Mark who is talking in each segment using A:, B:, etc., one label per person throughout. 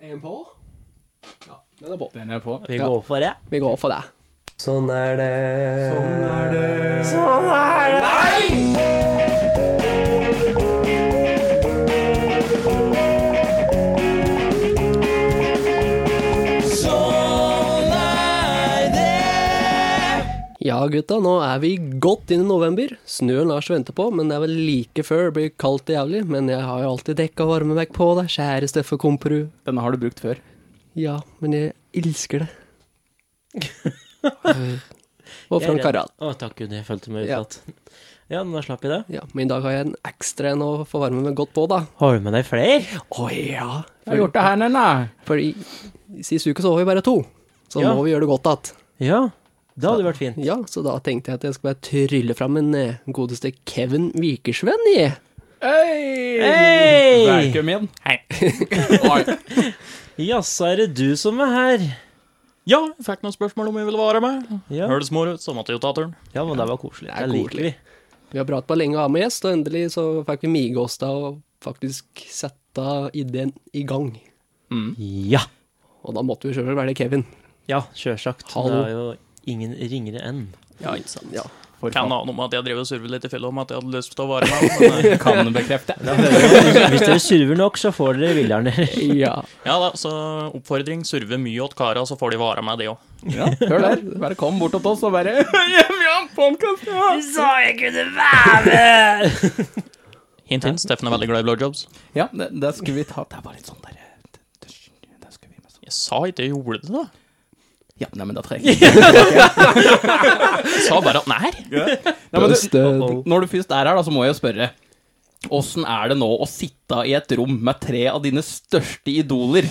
A: Er den på? Ja, den er på.
B: Den er på.
C: Vi
A: Ja.
C: går for det.
A: Vi går for det.
D: Sånn er det.
B: Sånn
A: Ja, gutta, nå er vi godt inn i november. Snøen lar seg vente på, men det er vel like før det blir kaldt og jævlig. Men jeg har jo alltid dekk og varmevekk på deg, kjære Steffe Komperud.
B: Denne har du brukt før.
A: Ja, men jeg elsker det. Eh, og Frank Harald.
C: Å, takk gud, jeg følte meg
A: Ja.
C: utsatt. Ja, nå slapp vi det.
A: Ja, men i dag har jeg en ekstra en å få varme meg godt på, da.
C: Har du med deg flere?
A: Å ja.
B: Jeg har gjort det her, Nenna.
A: Fordi sist uke så var vi bare to, så
C: Ja.
A: nå må vi gjøre det godt igjen.
C: Ja. Det hadde vært fint.
A: Ja, så da tenkte jeg at jeg skal bare trylle fram en eh, godeste Kevin Vikersvenn i.
C: Hei!
B: Velkommen inn.
C: Ja, så er det du som er her.
E: Ja, jeg fikk noen spørsmål om jeg ville være med.
C: Ja,
E: Hørtes moro ut, så måtte jeg jo ta turen.
C: ja men det var koselig.
A: Det er
C: Det liker vi.
A: koselig. Vi har pratet på lenge å ha med gjest, og endelig så fikk vi mige oss da og faktisk sette ideen i gang.
C: Ja.
A: Og da måtte vi selvfølgelig være det Kevin.
C: Ja, sjølsagt. Det
A: Hallo.
C: er jo ingen ringere enn.
A: Ja, ikke sant. Ja.
B: For
E: Kan
B: faen.
E: ane om at jeg drev og survet litt i fjellet om at jeg hadde lyst til å være med. Men, eh,
B: Kan bekrefte.
C: Hvis dere surver nok, så får dere villeren deres.
A: ja.
E: ja da, så oppfordring, surve mye åt kara, så får de være med det òg.
B: Ja, hør der. Bare kom bort til oss og bare
C: Du sa jeg kunne være med!
E: Hint, hint, Steffen er veldig glad i blowjobs.
B: Ja, det, det skulle vi ta. Det var litt sånn der eh, det- det- det skulle vi med sånn.
E: Jeg sa ikke jeg gjorde det, da.
B: Ja, nei, men da trenger jeg ikke.
E: Jeg sa bare at nei.
B: Nei, men
A: Bøste.
B: du, Når du først er her, da, så må jeg jo spørre. Åssen er det nå å sitte i et rom med tre av dine største idoler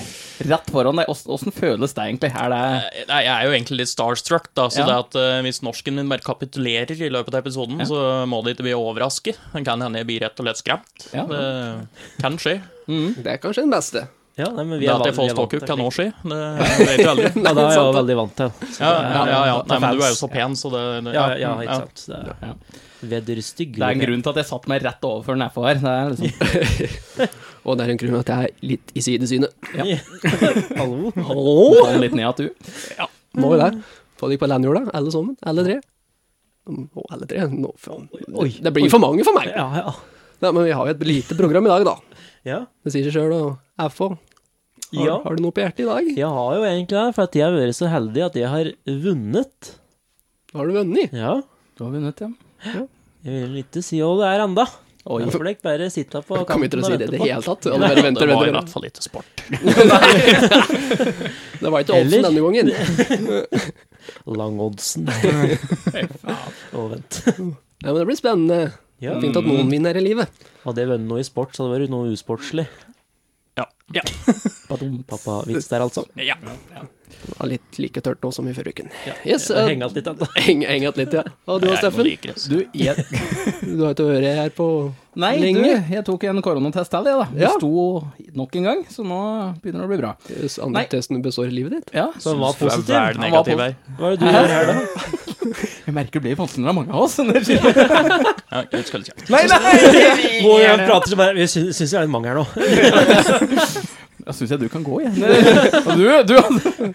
B: rett foran deg? Åssen- Åssen føles det egentlig? Er det
E: Eh, Nei, Jeg er jo egentlig litt starstruck, da, så det
B: Ja.
E: at eh, hvis norsken min bare kapitulerer i løpet av episoden, så må de ikke bli overrasket. Det kan hende jeg blir rett og slett skremt.
B: Ja.
E: Det kan skje.
A: Det er kanskje den beste.
C: Ja, nei, men vi
E: Det
C: er
E: at
C: vant-
E: jeg får
C: vi er vant
E: ståkuk,
C: til
E: kan
C: det.
E: òg skje. Det vet du aldri.
C: Ja, da er jeg jo veldig vant til.
E: Ja, ja, ja, ja. Nei, men du er jo
C: fans.
E: så pen, så det, det
C: Ja, ja, ikke
E: ja.
C: sant. Det er
B: Ja.
C: Vedder stygg.
B: Det er en grunn til at jeg satt meg rett overfor nedpå her. Det er liksom,
A: Og det er en grunn til at jeg er litt i sidesynet.
C: Hallo?
A: Hallo!
B: sånn litt ned at du
A: Må jo det. Få de på landjorda, alle sammen. Alle tre. Å, alle tre? Nå, faen.
C: Oi.
A: Det blir for mange for meg.
C: Ja, ja.
A: Nei, men vi har jo et lite program i dag, da.
C: Ja.
A: Det sier seg sjøl, og FH. Har,
C: ja.
A: har du noe på hjertet i dag?
C: Jeg har jo egentlig det, for at jeg har vært så heldig at jeg har vunnet.
A: Har du vunnet?
C: Ja.
B: Du har vunnet, ja.
C: Jeg vil ikke si hva det er enda.
B: Oi.
C: Jeg får ikke bare sitte på
A: Jeg kommer ikke til å si det i det hele tatt. Alle
E: Nei,
A: bare venter,
E: det var i
A: venter,
E: hvert
A: venter.
E: fall ikke sport.
A: Det var ikke oddsen
C: Eller-
A: denne gangen.
C: Langoddsen. Å, vent.
A: Nei, men det blir spennende.
C: Ja.
A: Fint at noen vinner i livet.
C: Hadde jeg vunnet noe i sport, så hadde det vært noe usportslig.
E: Ja. Ja.
C: Pappa vits der, altså.
E: ja.
A: Det var litt like tørt nå som i forrige uken. Yes,
C: Jeg
A: eh,
C: henger alt litt enda.
A: heng heng att litt, ja. Og du da,
E: Jeg er
A: Steffen?
E: noe likere, så.
B: Du, jeg,
A: Du har ikke øret her på
B: nei, du,
A: lenge.
B: jeg tok en koronatest til, jeg, da. Det
A: Ja.
B: sto nok en gang, så nå begynner det å bli bra.
A: Yes,
B: Nei.
A: eh, Andre testen består i livet ditt.
B: Ja,
C: Så han var
E: Du er
C: positiv.
E: vel
B: Han var
E: negativ her.
C: Hva er det du gjør her, da?
B: Jeg merker det blir vanskeligere av mange av oss. enn det skjer.
E: Ja, jeg skal ikke-
B: Nei, nei!
C: Må jeg prater så bare Vi syns syns jeg er en mange her nå.
B: Da syns jeg du kan gå igjen. Og Du, du,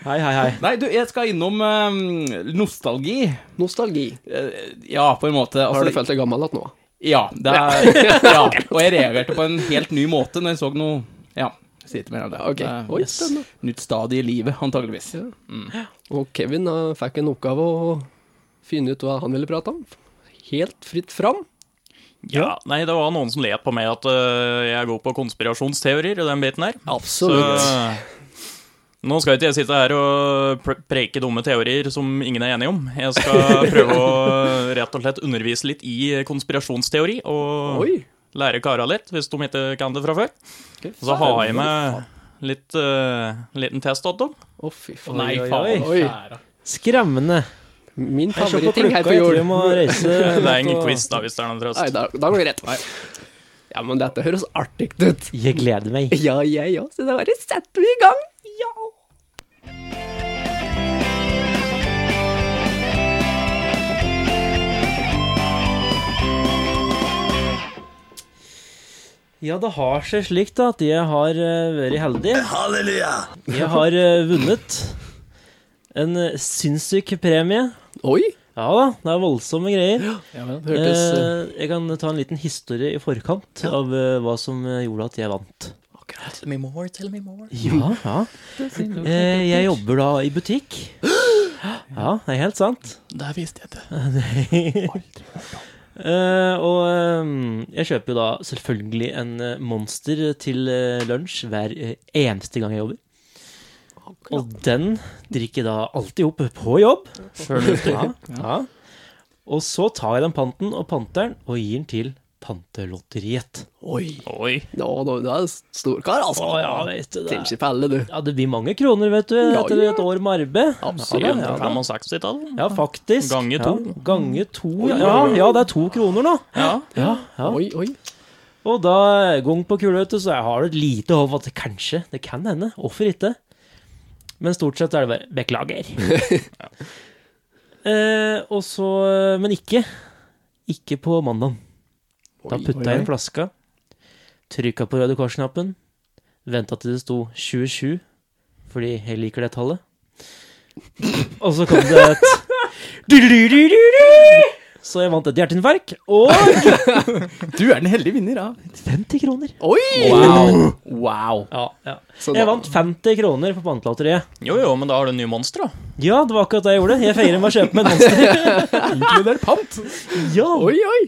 C: Hei, hei, hei.
B: nei, du, jeg skal innom eh, nostalgi.
A: Nostalgi.
B: Eh, Ja, på en måte.
A: Har du
B: Altså,
A: følt deg gammel igjen nå?
B: ja, det er, ja. Og jeg reagerte på en helt ny måte når jeg så noe Ja, sier ikke mer om det.
A: Ok.
B: Det er
A: Oi,
B: et
A: spennende.
B: Nytt stadie i livet, antageligvis.
A: Og Kevin eh, fikk en oppgave å finne ut hva han ville prate om. Helt fritt fram.
E: Ja, nei, det var noen som let på meg at øh, jeg er god på konspirasjonsteorier og den biten her. Så øh,
A: Absolutt.
E: nå skal ikke jeg sitte her og pre preike dumme teorier som ingen er enige om. Jeg skal prøve å øh, rett og slett undervise litt i konspirasjonsteori og
A: Oi.
E: lære kara litt, hvis de ikke kan det fra før. Og så har jeg med litt øh, liten test til dem.
A: Å, fy faen.
C: Nei,
B: Oi,
C: faen.
B: oi, oi.
C: Skremmende.
A: Min
C: Jeg ser på
A: favoritting
C: klokka,
A: her
C: jeg
A: på
C: tror jeg
A: jord.
C: må reise.
A: Eh,
E: Det er ingen quiz, da, hvis det er noen trøst.
A: Nei, da, da går det greit. Ja, men dette høres artig ut.
C: Jeg gleder meg.
A: Ja, jeg òg, så da bare setter vi i gang. Ja.
C: Ja, det har seg slik da, at jeg har eh, vært heldig. Jeg har eh, vunnet en eh, sinnssyk premie.
A: Oi!
C: Ja da, det er voldsomme greier.
A: Ja, men hørtes eh,
C: Eh, jeg kan ta en liten historie i forkant av eh, hva som eh, gjorde at jeg vant.
B: Tell me more, tell me more.
C: Ja, ja. Eh, jeg jobber da i butikk. Ja, det er helt sant.
B: Der visste jeg det.
C: Eh, og ehm, jeg kjøper jo da selvfølgelig en eh, monster til eh, lunsj hver eh, eneste gang jeg jobber. Og den drikker jeg da alltid opp på jobb. Ja, ja. Og så tar jeg den panten og panter den og gir den til Pantelotteriet.
A: Oi!
E: Oi.
A: Nå, nå, du er storkar, altså.
C: Å ja, vet du det.
A: Tenk ikke pelle, du.
C: Ja, det blir mange kroner, vet du,
A: Ja,
C: etter
A: ja.
C: et år med arbeid.
A: Absolutt.
C: Ja, da, ja, da.
E: 65-tall.
C: Ja, faktisk.
E: Gange to.
C: Ja, gange to, ja. ja. Ja, det er to kroner nå.
E: Ja.
C: Ja, ja.
A: Oi, oi.
C: Og da, gang på kula, vet du, så jeg har et lite håp at det kanskje, det kan hende, hvorfor ikke? Men stort sett er det bare, beklager. eh, og så, men ikke, ikke på mandagen. Da
A: Oi,
C: putta
A: oi,
C: jeg
A: oi.
C: inn flaska, trykka på Røde Kors-knappen, venta til det sto 27, fordi jeg liker det tallet. Og så kom det et du-du-du-du-du-du! Så jeg vant et hjerteinfarkt og
B: Du er den heldige vinner, ja.
C: 50 kroner.
A: Oi!
B: Wow. wow.
C: Ja, ja.
A: Så
C: Jeg
A: da-
C: vant 50 kroner på pantelotteriet.
E: Jo, jo, men da har du en ny monster, da.
C: Ja, det var akkurat det jeg gjorde. Jeg feirer med å kjøpe meg en monster.
B: Inkludert pant.
C: Ja.
A: Oi, oi!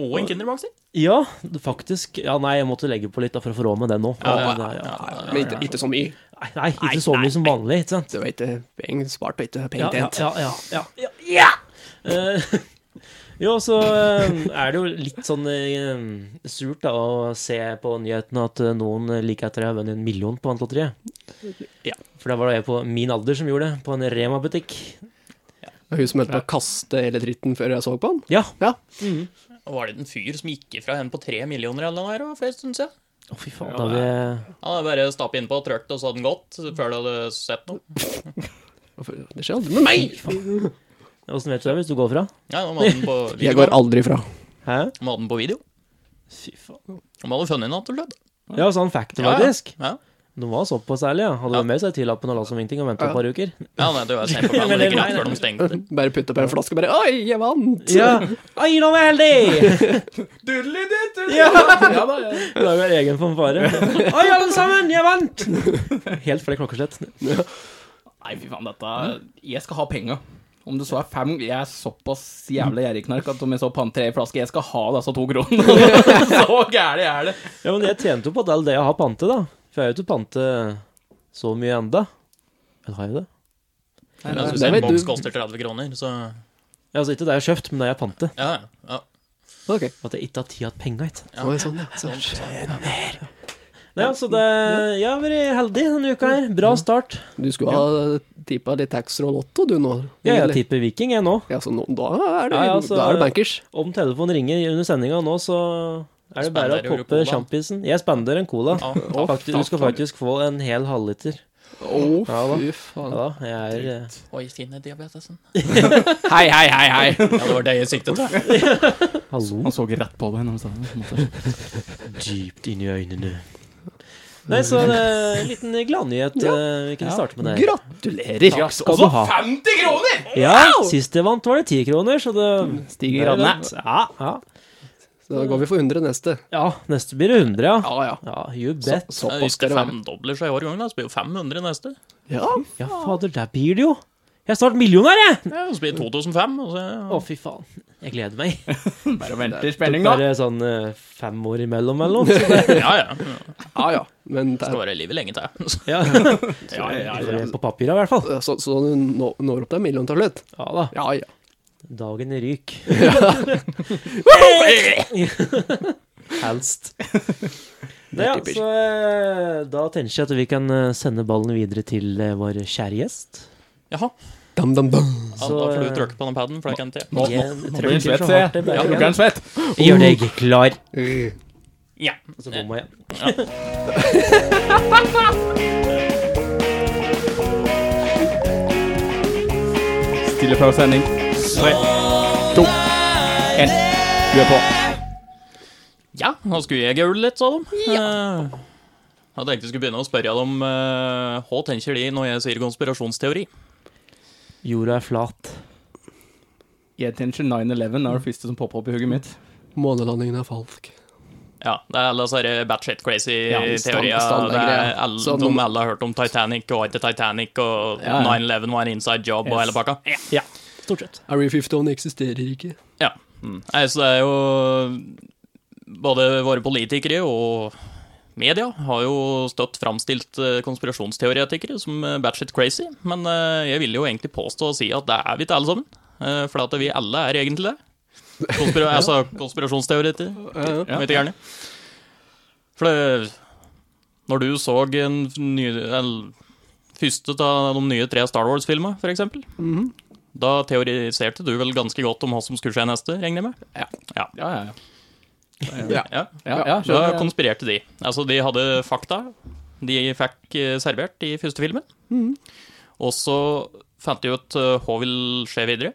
E: Og en Kinderboxer.
C: ja, faktisk. Ja, nei, jeg måtte legge på litt da, for å få råd med den nå. Ja,
E: Ja,
C: ja, ja.
A: Men ikke, ikke så mye.
C: Nei, nei, ikke så mye som vanlig, ikke sant?
A: Du vet, eh, penger spart og ikke
C: Ja,
A: penger
C: ja,
A: tjent.
C: ja, ja, ja, ja, ja. Eh, Jo, så eh, er det jo litt sånn eh, surt da, å se på nyhetene at eh, noen eh, like etter har vunnet en million på Vantlotteriet.
E: Ja.
C: For da var det jeg på min alder som gjorde det, på en Rema-butikk.
A: Hun som holdt på å kaste hele dritten før jeg så på han.
C: Ja,
A: Ja.
E: Og Var det en fyr som gikk ifra henne på tre millioner eller noe her da, for en stund siden?
C: Å, fy faen, da hadde jeg
E: Han hadde bare stappet innpå og trykt, og så hadde han gått før du hadde sett noe.
A: Hvorfor- Det skjer aldri med meg!
C: Åssen vet du det, hvis du går fra?
E: Ja, de hadde den på
A: Jeg
E: video.
A: går aldri fra.
C: Hæ?
E: De hadde den på video.
C: Fy faen.
E: De hadde funnet den, rett og slett.
C: Ja, sånn fact,
E: Ja, ja.
C: faktisk.
E: Ja.
C: De var såpass ærlige. ja. Hadde
E: Ja.
C: vært med seg tillappen og la som ingenting og venta
A: Ja.
C: et par uker.
E: Ja, nei, det var sent på planen, men ikke langt før de stengte.
A: Bare putte på en flaske, bare Oi, jeg vant!
C: Ja! Oi, nå var jeg heldig! Ja!
A: Ja da, ja.
C: Lager egen fanfare. Oi, alle sammen, jeg vant! Helt flere klokkeslett.
B: Nei, fy faen, dette Jeg skal ha penga. Om det så er fem Jeg er såpass jævla gjerrigknark at om jeg så pant tre flasker Jeg skal ha disse to kronene. så gæren er det.
C: Ja, men jeg tjente jo på at all det jeg har pante, da. For jeg er jo ikke pante så mye enda. Eller har jeg det?
E: Men jeg synes
A: det
E: en
A: vet
E: boks
A: du.
E: koster 30 kroner, så
C: Ja, Altså, ikke det jeg har kjøpt, men det jeg har pante.
E: ja, ja.
A: Ok.
C: At jeg ikke har tid til penger, ikke
A: Oi, sånn, ja. Så.
C: Nei, altså, det Jeg har vært heldig denne uka her. Bra start.
A: Du skulle ha tippa litt taxer og lotto, du nå.
C: Ja, altså- jeg
A: egentlig.
C: tipper Viking, jeg nå.
A: Ja, så nå, da, er det,
C: Ja, ja, så-
A: da er det bankers.
C: Om telefonen ringer under sendinga nå, så er det bare å
E: Spenderer
C: poppe
E: du cola?
C: sjampisen. Jeg spenderer en cola.
E: Ja,
C: Og faktisk, du skal faktisk få en hel halvliter.
A: Å,
C: Ja, da.
A: fy
C: Ja
A: faen.
C: da, jeg er eh,
E: Oi, sinne diabetesen.
B: Hei, hei, hei, hei.
E: Ja, det var det jeg siktet til.
C: Hallo?
B: Han så rett på deg når han sa det. på en måte.
C: Dypt inn i øynene. Nei, så en eh, liten gladnyhet. eh, Vi kunne starte med det.
A: Gratulerer!
C: Takk skal du
B: Ah.
C: ha.
B: 50 kroner!
C: Ja, sist jeg vant, var det ti kroner, så det
A: Stiger
C: Ja,
A: gradene.
C: ja.
A: Så da går vi for 100 neste.
C: ja, neste blir det 100, ja.
A: Ja, ja.
C: Ja, you
A: Så,
C: bet.
E: Jeg
A: såpass
E: husker
A: skal det være.
E: femdobler seg hver gang, da. Så blir jo 500 neste.
A: Ja,
C: Ja, fader, der blir det jo. Jeg er snart millionær, jeg!
E: Ja, så blir det 2005, og så
C: Å, fy faen. Jeg gleder meg.
B: Bare venter i
C: Det
B: spenning, da.
C: er sånn eh, fem år imellom, eller noe. så
E: Ja, ja. ja.
A: ja. ja. Men det
E: Skal
A: er,
E: være i livet lenge til.
C: det- Ja.
B: Ja, ja, ja, ja.
C: På papiret, i hvert fall.
A: så, så du nå- når opp til en million til slutt?
C: Ja da.
A: Ja, ja.
C: Dagen ryk. Helst. Det, ja,
A: typisk.
C: så eh, da tenker jeg at vi kan eh, sende ballen videre til eh, vår kjære gjest.
E: Jaha.
A: Dam, dam, dam.
E: Ja,
C: Så,
E: da får
C: eh,
E: du trykke på den paden, for det kan jeg ikke.
B: Nå, nå,
C: Jeg
B: nå
C: trykker
B: blir han svett,
C: så
B: ser
C: hardt det
B: jeg.
C: bare
B: Ja, nå
C: kan.
B: blir han svett.
C: Gjør deg klar.
A: Øh.
E: Ja.
C: Oh. Så bomma jeg.
B: Stille fra sending. Tre, to, én. Du er på.
E: Ja, Nå skulle jeg gaule litt, sa de. Eh, Jeg tenkte jeg skulle begynne å spørre dem eh, hva tenker de når jeg sier konspirasjonsteori.
C: Jorda er flat.
B: Jeg tenker 9-11 er det første som popper opp i hugget mitt.
A: Månelandingen er falsk.
E: Ja, det er alle sånne batshit crazy
B: Ja, stand-
E: teorier.
A: standardgreier.
E: Det er alle,
A: Sånn-
E: de alle har hørt om Titanic og etter Titanic, og
B: Ja, ja.
E: 9-11 var en inside job og
C: Yes.
E: hele pakka.
C: Ja, stort sett.
A: Area 51 eksisterer ikke.
E: Ja. Mm. Nei, så det er jo Både våre politikere og media har jo støtt framstilt eh, konspirasjonsteoretikere som eh, batshit crazy, men eh, jeg vil jo egentlig påstå og si at det er vi ikke alle sammen. eh, For at vi alle er egentlig det. Konspira Altså konspirasjonsteoretikere.
A: Ja,
E: Ja. Vet jeg gjerne. For det, når du så en ny, en første av de nye tre Star Wars-filmene, for eksempel,
A: Mhm.
E: da teoriserte du vel ganske godt om hva som skulle skje neste, regner jeg med?
B: Ja, ja, ja.
A: Ja.
E: Ja.
B: ja, ja
E: Da
B: skjønner jeg.
E: konspirerte de. Altså, de hadde fakta de fikk eh, servert i første filmen,
A: Mm.
E: og så fant de ut eh, hva vil skje videre.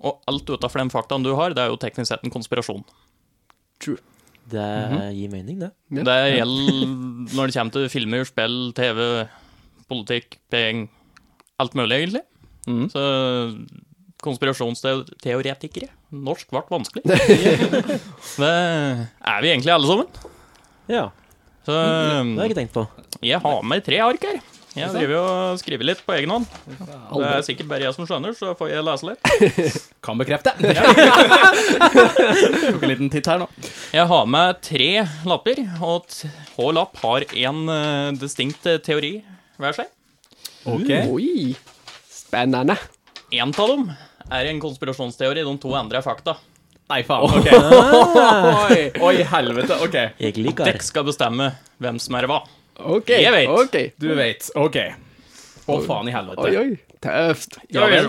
E: Og alt utafor de faktaene du har, det er jo teknisk sett en konspirasjon.
C: Det gir mening, det.
A: Ja.
E: Det gjelder når det kommer til filmer, spill, TV, politikk, penger Alt mulig, egentlig.
B: Mhm.
E: Så konspirasjonsteoretikere Norsk ble vanskelig. det er vi egentlig alle sammen.
C: Ja,
A: Mm.
E: Så eh,
C: Det har jeg ikke tenkt på.
E: jeg har med tre ark her. Jeg driver jo og skriver litt på egen hånd. Det er sikkert bare jeg som skjønner, så får jeg lese litt.
B: Kan bekrefte. Tok en liten titt her nå.
E: Jeg har med tre lapper, og t- hver lapp har én distinkt eh, teori hver seg.
B: Ok.
A: Oi! Spennende.
E: En av dem er en konspirasjonsteori, de to andre er fakta.
B: Nei, faen. ok. Oi, oi, helvete. Ok.
C: Jeg
E: Dere
C: liker
E: skal bestemme hvem som er hva.
A: Ok.
E: Jeg vet.
A: ok.
B: Du vet. Ok. Å, faen i helvete.
A: Oi, oi. Tøft.
B: Ja vel.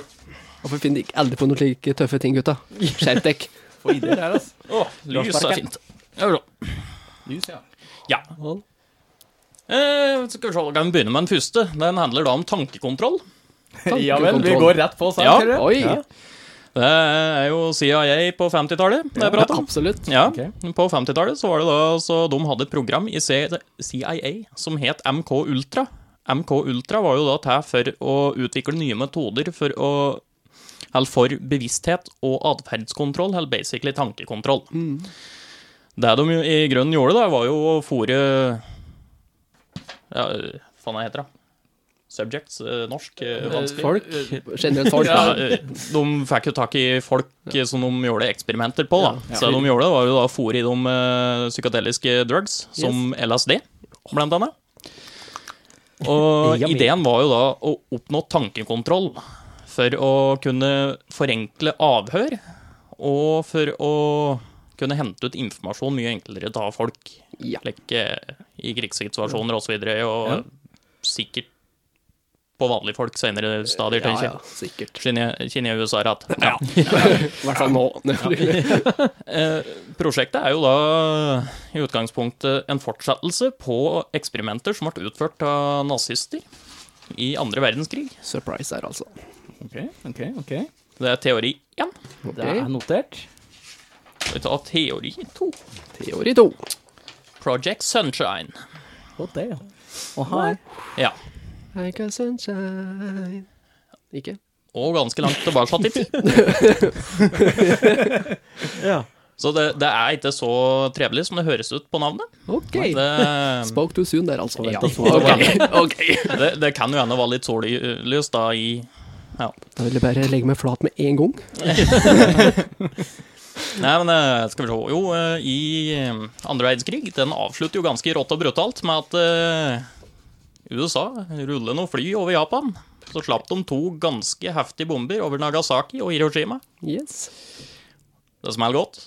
A: Hvorfor finner dere aldri på noen slike tøffe ting, gutta? Skjerp dere.
B: Få ideer her, altså.
E: Åh, lys er fint. Ja, bra.
B: Lys, ja.
E: Ja. Eh, skal vi se, kan vi begynne med den første. Den handler da om tankekontroll.
B: Ja vel, vi går rett på sak.
E: Ja.
B: dere.
A: Oi.
C: Ja.
E: Det er jo CIA på 50-tallet det er prat om.
A: Absolutt.
E: Ja,
B: Ok.
E: på 50-tallet så var det da så de hadde et program i C- CIA som het MK Ultra. MK Ultra var jo da til for å utvikle nye metoder for å eller for bevissthet og atferdskontroll, eller basically tankekontroll. Det de jo i grunnen gjorde, da, var jo å fòre Ja, hva faen heter det? Subjects? eh, Norsk? eh, Vanskelig?
C: folk.
A: Generelt folk.
E: Ja,
A: da.
E: de fikk jo tak i folk som de gjorde eksperimenter på. Da. Så de gjorde det var jo da fôr i de eh, psykadeliske drugs, som LSD, blant annet. Og
C: Yummy.
E: ideen var jo da å oppnå tankekontroll for å kunne forenkle avhør, og for å kunne hente ut informasjon mye enklere av folk.
A: Ja.
E: Like, eh, I krigssituasjoner og så videre, og sikkert på vanlige folk senere stadier,
A: Ja,
E: tenker jeg.
A: ja, sikkert.
E: Kine, Kine og USA rett.
A: I hvert fall nå.
E: Eh, prosjektet er jo da i utgangspunktet en fortsettelse på eksperimenter som ble utført av nazister i andre verdenskrig.
A: Surprise her, altså.
B: Ok, ok, ok.
E: Det er teori én.
A: Ok,
B: Det er notert.
E: Vi tar teori to.
A: Teori to.
E: Project Sunshine.
B: Og det, ja. Og her.
E: Ja.
A: Like a sunshine Ikke?
E: Og ganske langt tilbake i tid.
C: Ja.
E: Så det, det er ikke så trevelig som det høres ut på navnet.
A: OK.
E: Det,
A: Spoke too soon der, altså. Ja.
C: litt.
A: Ok, ok.
E: det, det kan jo hende være litt sollys da i
A: Da vil jeg bare legge meg flat med en gang.
E: Nei, men eh, skal vi se. Jo, eh, i eh, andre verdenskrig, den avslutter jo ganske rått og brutalt med at eh, USA ruller noen fly over Japan. Så slapp de to ganske heftige bomber over Nagasaki og Hiroshima.
A: Yes.
E: Det smeller godt.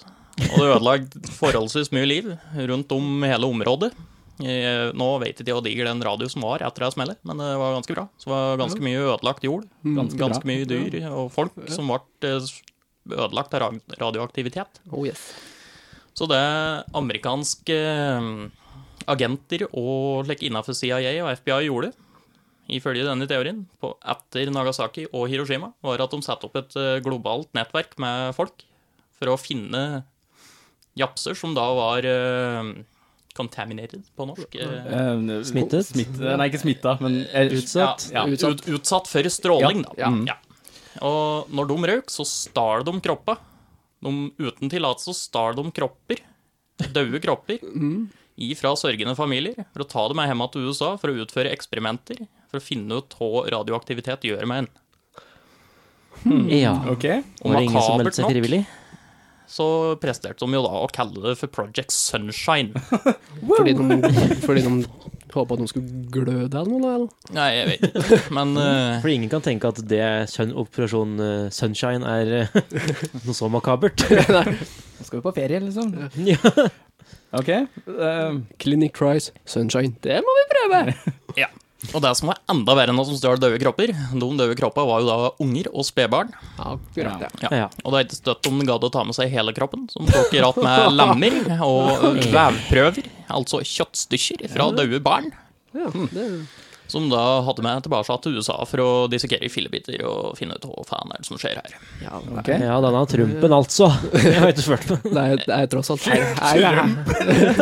E: Og det ødela forholdsvis mye liv rundt om hele området. Eh, Nå vet jeg ikke hvor diger den radiusen var etter det smellet, men det var ganske bra. Så det var ganske mye ødelagt jord,
B: Ganske bra.
E: ganske mye dyr og folk som ble eh, ødelagt av ra- radioaktivitet.
A: Oh yes.
E: Så det amerikanske eh, agenter og like, innenfor CIA og FBI gjorde, ifølge denne teorien, på, etter Nagasaki og Hiroshima, var at de satte opp et eh, globalt nettverk med folk for å finne japser som da var eh, contaminated på norsk. eh,
B: Eh,
C: Smittet?
B: smitte- Nei, ikke smitta, men eh,
C: Utsatt?
B: Ja, ja.
E: Ut, utsatt for stråling, da.
B: Ja, ja.
E: Mm. Ja. Og når de røyk, så stal de kroppa. De, uten tillatelse så stal de kropper, døde kropper, ifra sørgende familier for å ta dem med hjem til USA for å utføre eksperimenter for å finne ut hva radioaktivitet gjør med en.
C: Hmm. Ja.
B: Ok.
E: Og
C: Var det ingen som meldte
E: makabert
C: seg
E: nok
C: frivillig?
E: så presterte de jo da å kalle det for Project Sunshine.
A: Fordi de, fordi de håpa at de skulle glø deg eller noe. Eller?
E: Nei, jeg vet ikke. Men eh,
C: Fordi ingen kan tenke at det er sun Operasjon eh, Sunshine er eh, noe så makabert.
B: Nå skal vi på ferie, liksom.
C: Ja.
B: Ok. eh,
A: Clinic tries sunshine. Det må vi prøve!
E: Og det som var enda verre enn at de stjal døde kropper, de døde kroppene var jo da unger og spedbarn.
A: Akkurat, ja.
E: Ja.
C: Ja.
E: Og det er ikke støtt om de gadd å ta med seg hele kroppen, som tok i ratt med lemmer og vevprøver, altså kjøttstykker fra døde barn,
A: ja det,
E: som da hadde med tilbake til USA for å dissekere i fillebiter og finne ut hva faen er det som skjer her.
A: ja,
B: ok.
C: ja, denne Trumpen, altså. Jeg har ikke spurt meg.
A: det, er, det er tross alt er, er,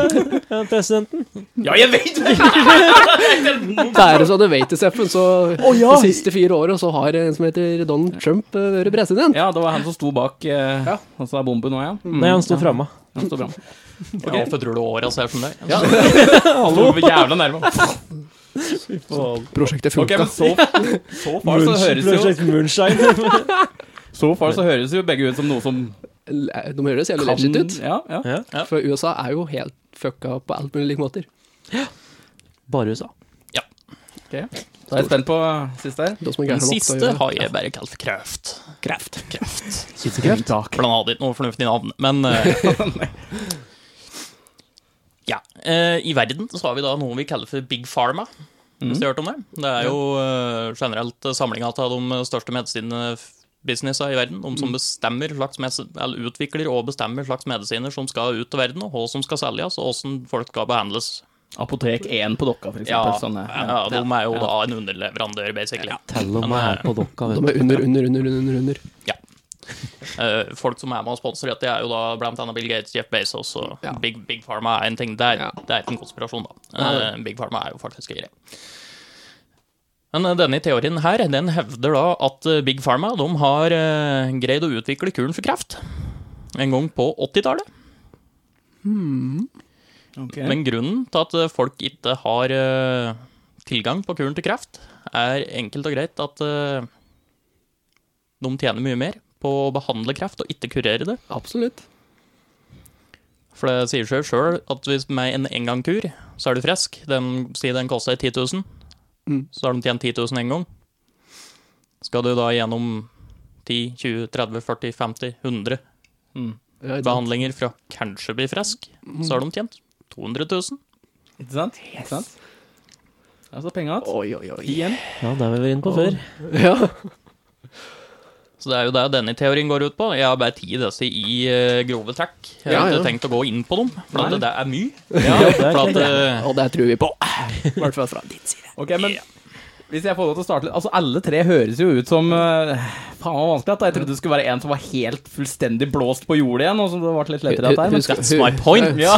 C: Ja, Presidenten.
B: Ja, jeg vet det!
A: Det er det så du vet det, Steffen. Så
C: ja!
A: de siste fire årene så har en som heter Donald Trump, eh, vært president.
B: Ja, det var han som sto bak eh, Han som er bomben nå, ja.
E: Mm.
C: Nei, han sto framme.
B: Han sto bra.
E: Ja, for tror du åra ser som det?
B: Ja. Sto jævla nærme.
A: Prosjektet
B: Ok,
A: funka.
B: men så, så far så høres jo
C: Project Moonshine.
B: Så far så høres jo begge ut som noe som
A: De eh, høres jævlig
B: kan
A: legit ut.
B: Ja, ja.
C: ja.
A: For USA er jo helt fucka på alt mulig like måter.
C: Bare USA.
B: Da er jeg spent på siste her.
A: De som er
E: Den
A: gærne nok til å
E: siste
A: gjøre det.
E: har jeg bare kalt for kreft. Kreft. Kreft.
C: Skytekreft.
E: For den hadde ikke noe fornuftig navn, men eh, Ja. eh, I verden så har vi da noe vi kaller for Big Pharma. Hvis du har hørt om det? Det er jo eh, generelt samlinga av de største medisinbusinessa i verden. De som bestemmer slags medis- eller utvikler og bestemmer slags medisiner som skal ut til verden, og hva som skal selges, og hvordan folk skal behandles.
B: Apotek 1 på Dokka, for
E: Ja,
B: eksempel. Sånn, eh,
E: Liksom ja, de er jo da en underleverandør, basically.
C: Tell om jeg er på dokka, vet
A: De
C: du.
A: er under, under, under, under. under.
E: Eh, folk som er med og sponsorer dette, er jo da blant annet Bill Gates, Jeff Bezos og Big, Big Pharma er en ting. Det er,
A: Ja.
E: det er ikke en konspirasjon, da. Eh, Big Pharma er jo faktisk en greie. Men eh, denne teorien her, den hevder da at eh, Big Pharma de har eh, greid å utvikle kuren for kreft. En gang på 80-tallet.
B: ok.
E: Men grunnen til at eh, folk ikke har eh, tilgang på kuren til kreft, er enkelt og greit at eh, de tjener mye mer på å behandle kreft og ikke kurere det.
A: Absolutt.
E: For det sier seg sjøl at hvis med en engangkur, så er du frisk. Den, si den koster 10 000,
A: Mm.
E: så har de tjent 10 000 en gang. Skal du da gjennom 10, 20, 30, 40, 50, 100
A: Ja, da-
E: behandlinger for å kanskje bli frisk,
A: Mm.
E: så har de tjent 200 000.
B: Ikke sant? Ikke sant? Altså penga igjen.
A: Oi, oi, oi.
B: Igjen.
C: Ja, det var vi inne på før.
A: Ja.
E: Så det er jo det denne teorien går ut på. Jeg har bare ti disse i eh, grove trekk. Jeg har
A: Ja, ja.
E: ikke tenkt å gå inn på dem, for at det er mye.
C: Ja, det
E: For
C: er
E: at, eh,
A: Og det tror vi på. I hvert fall fra din side.
B: Ok, men hvis jeg får lov til å starte litt Altså, alle tre høres jo ut som eh, Faen, hva vanskelig at det er. Jeg trodde det skulle være en som var helt fullstendig blåst på jordet igjen, og som det ble litt lettere at det er. Men...
A: Husk-
E: That's my point.
A: hu-
B: Ja.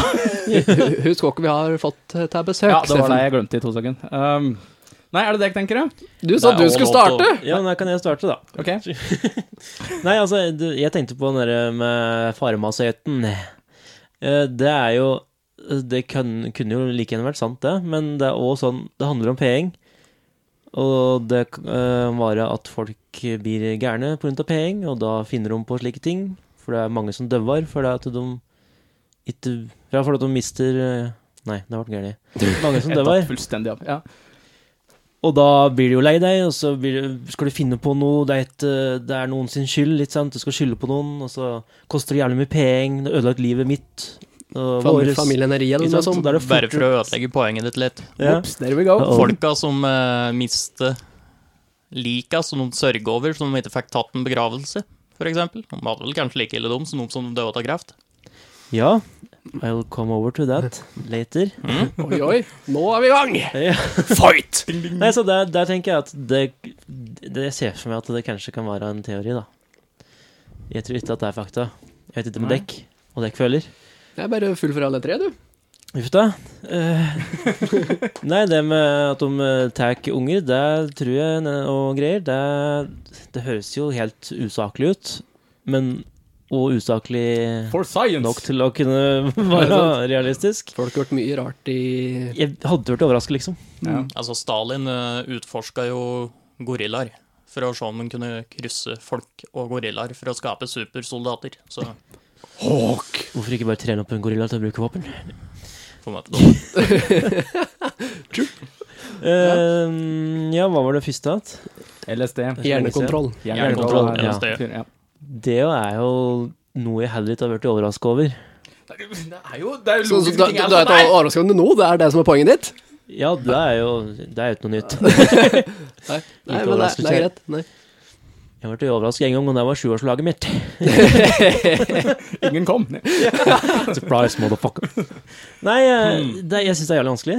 A: Husk hvem vi har fått eh, til besøk.
B: ja, det var det
A: Steffen.
B: jeg glemte i to sekunder. Um, nei, er det det jeg tenker, ja?
A: Du sa
E: Det er
A: du
E: all
A: skulle
E: lov til
A: starte!
E: å-
C: Ja, men da kan jeg starte, da.
B: Ok.
C: Nei, altså, du, jeg tenkte på den der med farmasøyten. Eh, Det er jo Det kan, kunne jo like gjerne vært sant, det, men det er også sånn Det handler om penger. Og det kan eh, være at folk blir gærne pga. penger, og da finner de på slike ting. For det er mange som døver fordi at de ikke Ja, fordi at de mister eh, Nei, det ble gærent. Mange som
B: Jeg
C: døver.
B: tatt fullstendig av. Ja.
C: Og da blir du jo lei deg, og så blir, du- skal du finne på noe. Det er, et, eh, det er noen sin skyld, ikke sant? du skal skylde på noen, og så koster det jævlig mye penger. Det har ødelagt livet mitt. Og
A: Fam-
C: våres.
A: Familien er reell,
C: Ikke
A: men
C: sant?
A: sånn.
C: Da er det
E: Bare for
C: fortere-
E: å ødelegge poenget ditt litt.
C: ja.
B: Ops, there we go.
C: Ja.
E: Folka som eh, mister lika som de sørger over, som de ikke fikk tatt en begravelse, f.eks. De hadde vel kanskje like ille dem som de som døde av kreft.
C: ja. I'll come over to that later.
A: Oi, oi. Nå er vi i gang!
C: Ja.
E: Fight!
C: Nei, så der, der tenker jeg at det, det Jeg ser for meg at det kanskje kan være en teori, da. Jeg tror ikke at det er fakta. Jeg vet ikke med
B: Nei.
C: dekk og dekkfølger.
A: Det er bare full for alle tre, du.
C: Uff da. Eh, nei, det med at de eh, tar unger, det tror jeg ne- og greier, det, det høres jo helt usaklig ut. Men og usaklig
B: For science!
C: nok til å kunne være realistisk.
A: Folk har gjort mye rart i
C: Jeg hadde vært overrasket, liksom.
B: Ja.
E: Altså, Stalin uh, utforska jo gorillaer for å se om han kunne krysse folk og gorillaer for å skape supersoldater. Så
B: Hawk!
C: Hvorfor ikke bare trene opp en gorilla til å bruke våpen?
E: på en måte da.
C: Eh, ja, hva var det første igjen?
B: LSD.
A: hjernekontroll.
E: Hjernekontroll,
B: Ja.
E: LSD.
B: Ja.
C: Det er jo noe jeg heller ikke har vært overrasket over.
B: Det er jo det er jo
A: Så, så,
B: logiske
A: da,
B: ting
A: da,
B: her
A: da,
B: som er.
A: overraskende nå, det er det som er poenget ditt?
C: Ja, det er jo Det er jo ikke noe nytt.
A: Nei,
C: Ikke
A: men det,
C: overraskelse.
A: det er greit. Nei.
C: Jeg ble overrasket en gang, og det var sjuårslaget mitt.
B: Ingen kom.
C: Surprise, motherfucker. Nei, eh, det, jeg syns det er jævlig vanskelig.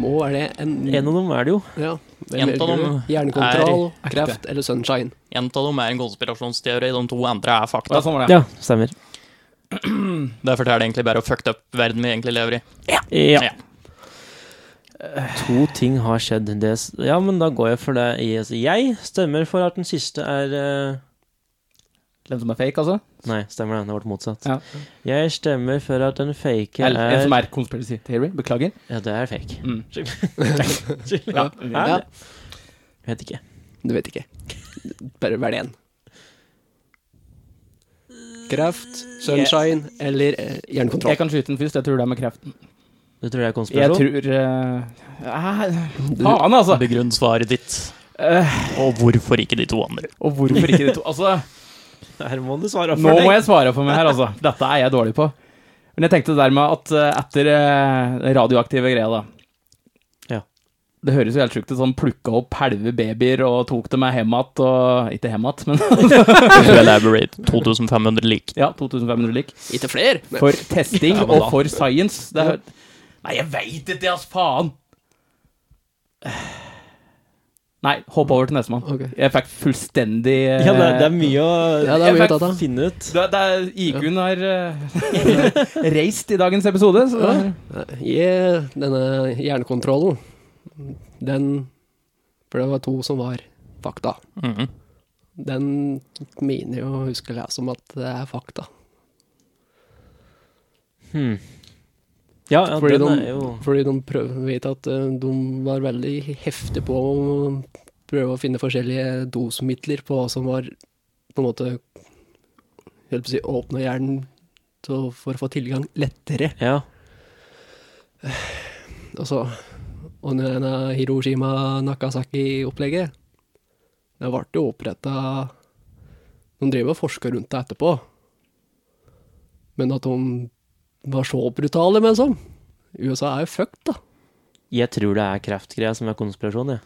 A: Må er det en
C: En av dem er det jo.
A: ja, hvem
E: En av
A: velger
E: dem
A: du? Hjernekontroll,
B: ekte.
A: kreft eller sunshine.
E: En av dem er en konspirasjonsteori, de to andre er
B: Ja,
E: fakta.
B: sånn var det.
C: Ja, stemmer.
E: Det forteller egentlig bare å fucke opp verden vi egentlig lever i.
C: Ja.
E: Ja.
C: To ting har skjedd. Det, s- ja, men da går jeg for det. i- altså, Jeg stemmer for at den siste er eh,
B: Den som er fake, altså?
C: Nei, stemmer det. Det ble motsatt.
B: Ja.
C: Jeg stemmer for at den fake
B: Eller en som
C: er
B: er conspiracy theory. Beklager.
C: Ja, det er fake.
B: Mm.
C: Ja,
B: Ja.
A: Ja.
C: det? Vet ikke.
A: Du vet ikke. Bare velg én. Kreft, sunshine eller eh,
B: Jeg
A: hjernekontroll.
B: kan skyte den først. Jeg tror det er med kreften.
C: Du tror det er
B: Jeg
C: konspirasjon?
B: tror eh, eh, Faen, altså!
E: Begrunn svaret ditt,
B: Eh,
E: og hvorfor ikke de to andre?
B: og hvorfor ikke de to? Altså,
C: Her må du svare
B: nå må jeg svare for meg her, altså. Dette er jeg dårlig på. Men jeg tenkte det der med at eh, etter eh, den radioaktive greia, da
C: Ja.
B: Det høres jo helt sjukt ut. Sånn plukka opp halve babyer og tok dem med hjem igjen og Ikke hjem igjen, men
E: To elaborate 2500 lik.
B: ja, 2500 lik.
A: Ikke flere! men-
B: For testing
E: Ja, men
B: og
E: da-
B: for science. Det er, nei, jeg veit ikke, ass faen! Nei, hopp over til nestemann.
A: Ok.
B: Jeg fikk fullstendig eh,
C: Ja, det, det er mye å
A: Ja, det er mye å
B: Jeg
A: ta av.
C: finne ut.
B: det, det er IQ-en har eh, reist i dagens episode. Så
A: Yeah, denne hjernekontrollen, den For det var to som var fakta.
E: Mhm.
A: Den mener jo å huske å lese om at det er fakta.
C: Hmm. Ja, ja
A: Fordi
C: den
A: de-
C: er jo
A: Fordi de prøver, vet at eh, de var veldig heftige på å prøve å finne forskjellige dosemidler på hva som var på en måte Helt på å si åpne hjernen så for å få tilgang lettere.
C: Ja.
A: Og så Og denne Hiroshima Nakasaki-opplegget Det ble jo oppretta De drev og forska rundt det etterpå. Men at de var så brutale, men sånn USA er jo fucked, da.
C: Jeg tror det er kreftgreier som er konspirasjon, jeg.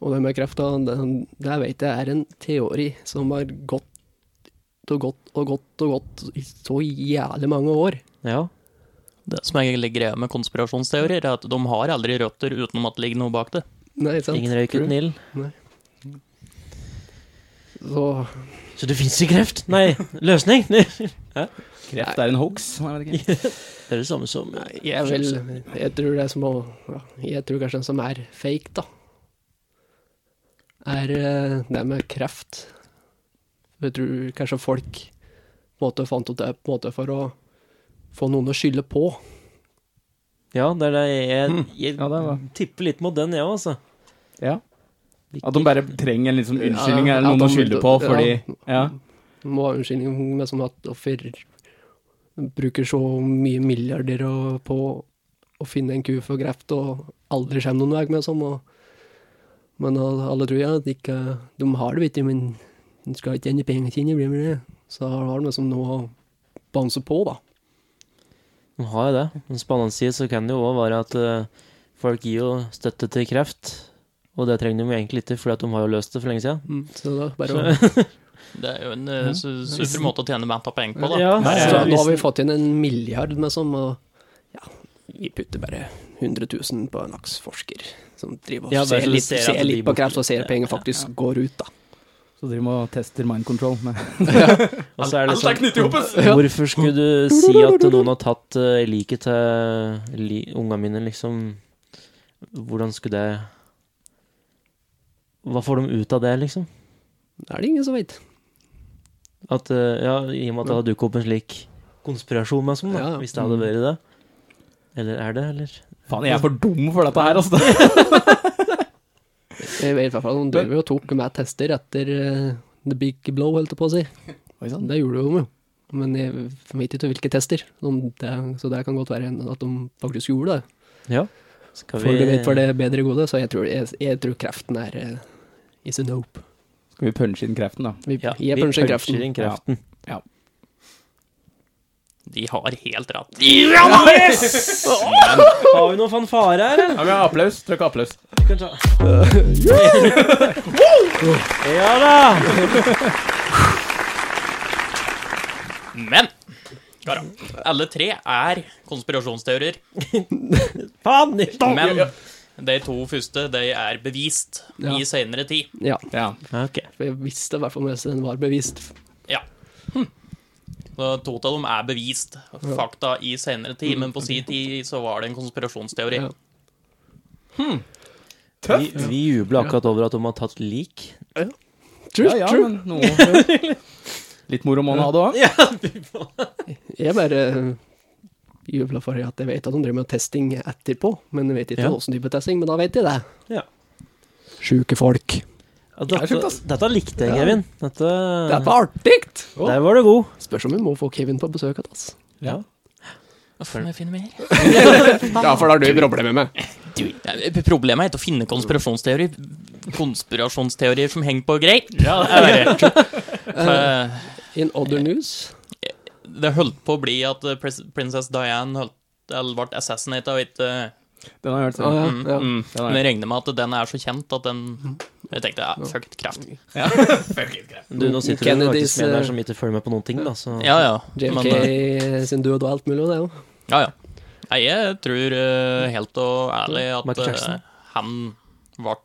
A: Og det med krefta, den- det vet jeg er en teori som har gått og gått og gått og gått i så jævlig mange år.
C: Ja.
E: Det som er egentlig greia med konspirasjonsteorier, er at de har aldri røtter utenom at det ligger noe bak det.
A: Nei, ikke sant?
C: Ingen røyk uten ild.
A: Så
C: Så det fins ikke kreft? Nei, løsning? Nei.
B: kreft er en hoax. Nei, jeg vet ikke.
C: Det er det samme som
A: jeg vil Jeg tror det er som å ja, Jeg tror kanskje den som er fake, da, er eh, det med kreft. Jeg tror kanskje folk på en måte fant ut det på en måte for å få noen å skylde på.
C: Ja, det er det jeg, jeg,
B: Ja, det var-
C: tipper litt mot den, jeg òg, altså.
B: Ja. At de bare trenger en liksom unnskyldning
A: Ja,
B: eller
A: at
B: noen å
A: de-
B: skylde på fordi Ja.
A: Må ha unnskyldning med sånn at offer bruker så mye milliarder og- på å finne en ku for kreft og aldri kommer noen vei med sånn. Og, men al- alle tror ja, at de ikke, de har det, vet du, men de skal ikke tjene penger sine, blir med det. Så har de liksom noe å banse på, da.
C: De har jo det. Men på den annen side så kan det jo òg være at eh, folk gir jo støtte til kreft. Og det trenger de jo egentlig ikke, for de har jo løst det for lenge siden.
A: Så da bare å
C: Mm. Så,
E: Det er jo en eh, su- super måte å tjene meta penger på, da.
C: ja,
A: Så
E: Her
A: da
E: er-
C: så-
A: har vi fått inn en milliard med sånn, og ja, vi putter bare 100 000 på en slags forsker som driver og
C: Ja, bare
A: ser,
C: så du
A: litt,
C: ser at
A: ser
C: de
A: litt på
C: borte-
A: kreft og ser
C: ja,
A: at penger faktisk går ut, da.
B: Så driver man og tester mind control. Men
C: Og så er det sånn,
B: knyttet ihop!
C: hvorfor skulle du si at noen har tatt uh, liket til li, unga mine, liksom? Hvordan skulle det Hva får de ut av det, liksom?
A: Det er det ingen som veit.
C: At, eh, ja, I og med at det har dukket opp en slik konspirasjon, med sånn, da,
A: Ja, ja.
C: hvis det hadde vært det. Eller er det, eller?
B: Faen, jeg er for dum for dette her, altså.
A: Jeg vet i hvert fall De drev jo og tok med tester etter eh, the big blow, holdt jeg på å si.
B: Oi sann.
A: Det gjorde de jo. Men jeg vet ikke hvilke tester, om det, så det kan godt være at de faktisk gjorde det.
C: Ja. Skal
A: For,
C: vi
A: det vet for det bedre gode, så jeg tror, jeg, jeg tror kreften er eh, is a nope.
B: Skal vi punche inn kreften, da?
A: Vi,
C: ja,
A: jeg
C: vi
A: puncher
C: puncher
A: kreften.
C: inn kreften.
E: De har helt rett.
C: Har vi noen fanfare her, eller?
B: Ja, men Applaus. Trykk applaus.
C: Ja da!
E: Men Gara, alle tre er konspirasjonsteorier.
C: Faen!
E: Men de to første de er bevist
A: Ja.
E: i seinere tid.
A: Ja,
B: Ja.
C: Ok.
A: for jeg visste i hvert fall mens den var bevist.
E: Ja. Hm. Så to av dem er bevist fakta i senere tid, men på sin tid så var det en konspirasjonsteori.
A: Ja.
C: Vi, vi jubler akkurat over at de har tatt lik.
A: True,
B: ja,
A: true.
B: men noe Litt moro må han ha det òg.
A: Jeg bare jubla for at jeg vet at de driver med testing etterpå, men jeg vet ikke
C: Ja.
A: åssen type testing, men da vet jeg det.
C: Ja.
A: Sjuke folk.
C: Ja,
B: Det er sjukt,
C: Dette,
B: ass.
C: dette likte jeg,
A: Ja.
C: Kevin. Dette,
A: Dette er artig!
C: Der var du god.
A: Spørs om vi må få Kevin på besøk igjen, altså.
C: Ja.
E: Hva får jeg finne mer?
A: Ja, for da har du problemer med.
E: Du, eh, problemet er ikke å finne konspirasjonsteorier. Konspirasjonsteorier som henger på greip. Ja, det, er
A: Eh, In other news
E: det holdt på å bli at eh, pres- prinsess Diane holdt, eller ble assassinated, og ikke
B: Den har jeg hørt
A: Å ja,
E: mm,
A: ja.
E: mm.
B: Den har
E: Men
B: jeg hørt.
E: jeg regner med at den er så kjent at den Jeg tenkte ja, fuck it, kreft.
C: Du, nå sitter du
A: Kennedys,
C: faktisk med en her
A: eh,
C: som ikke følger med på noen ting, da, så
E: Ja, ja. Men,
A: JFK
E: eh,
A: sin død og alt mulig, det òg.
E: ja, ja. Nei, jeg tror eh, helt og ærlig at
C: Michael Jackson.
E: eh, han ble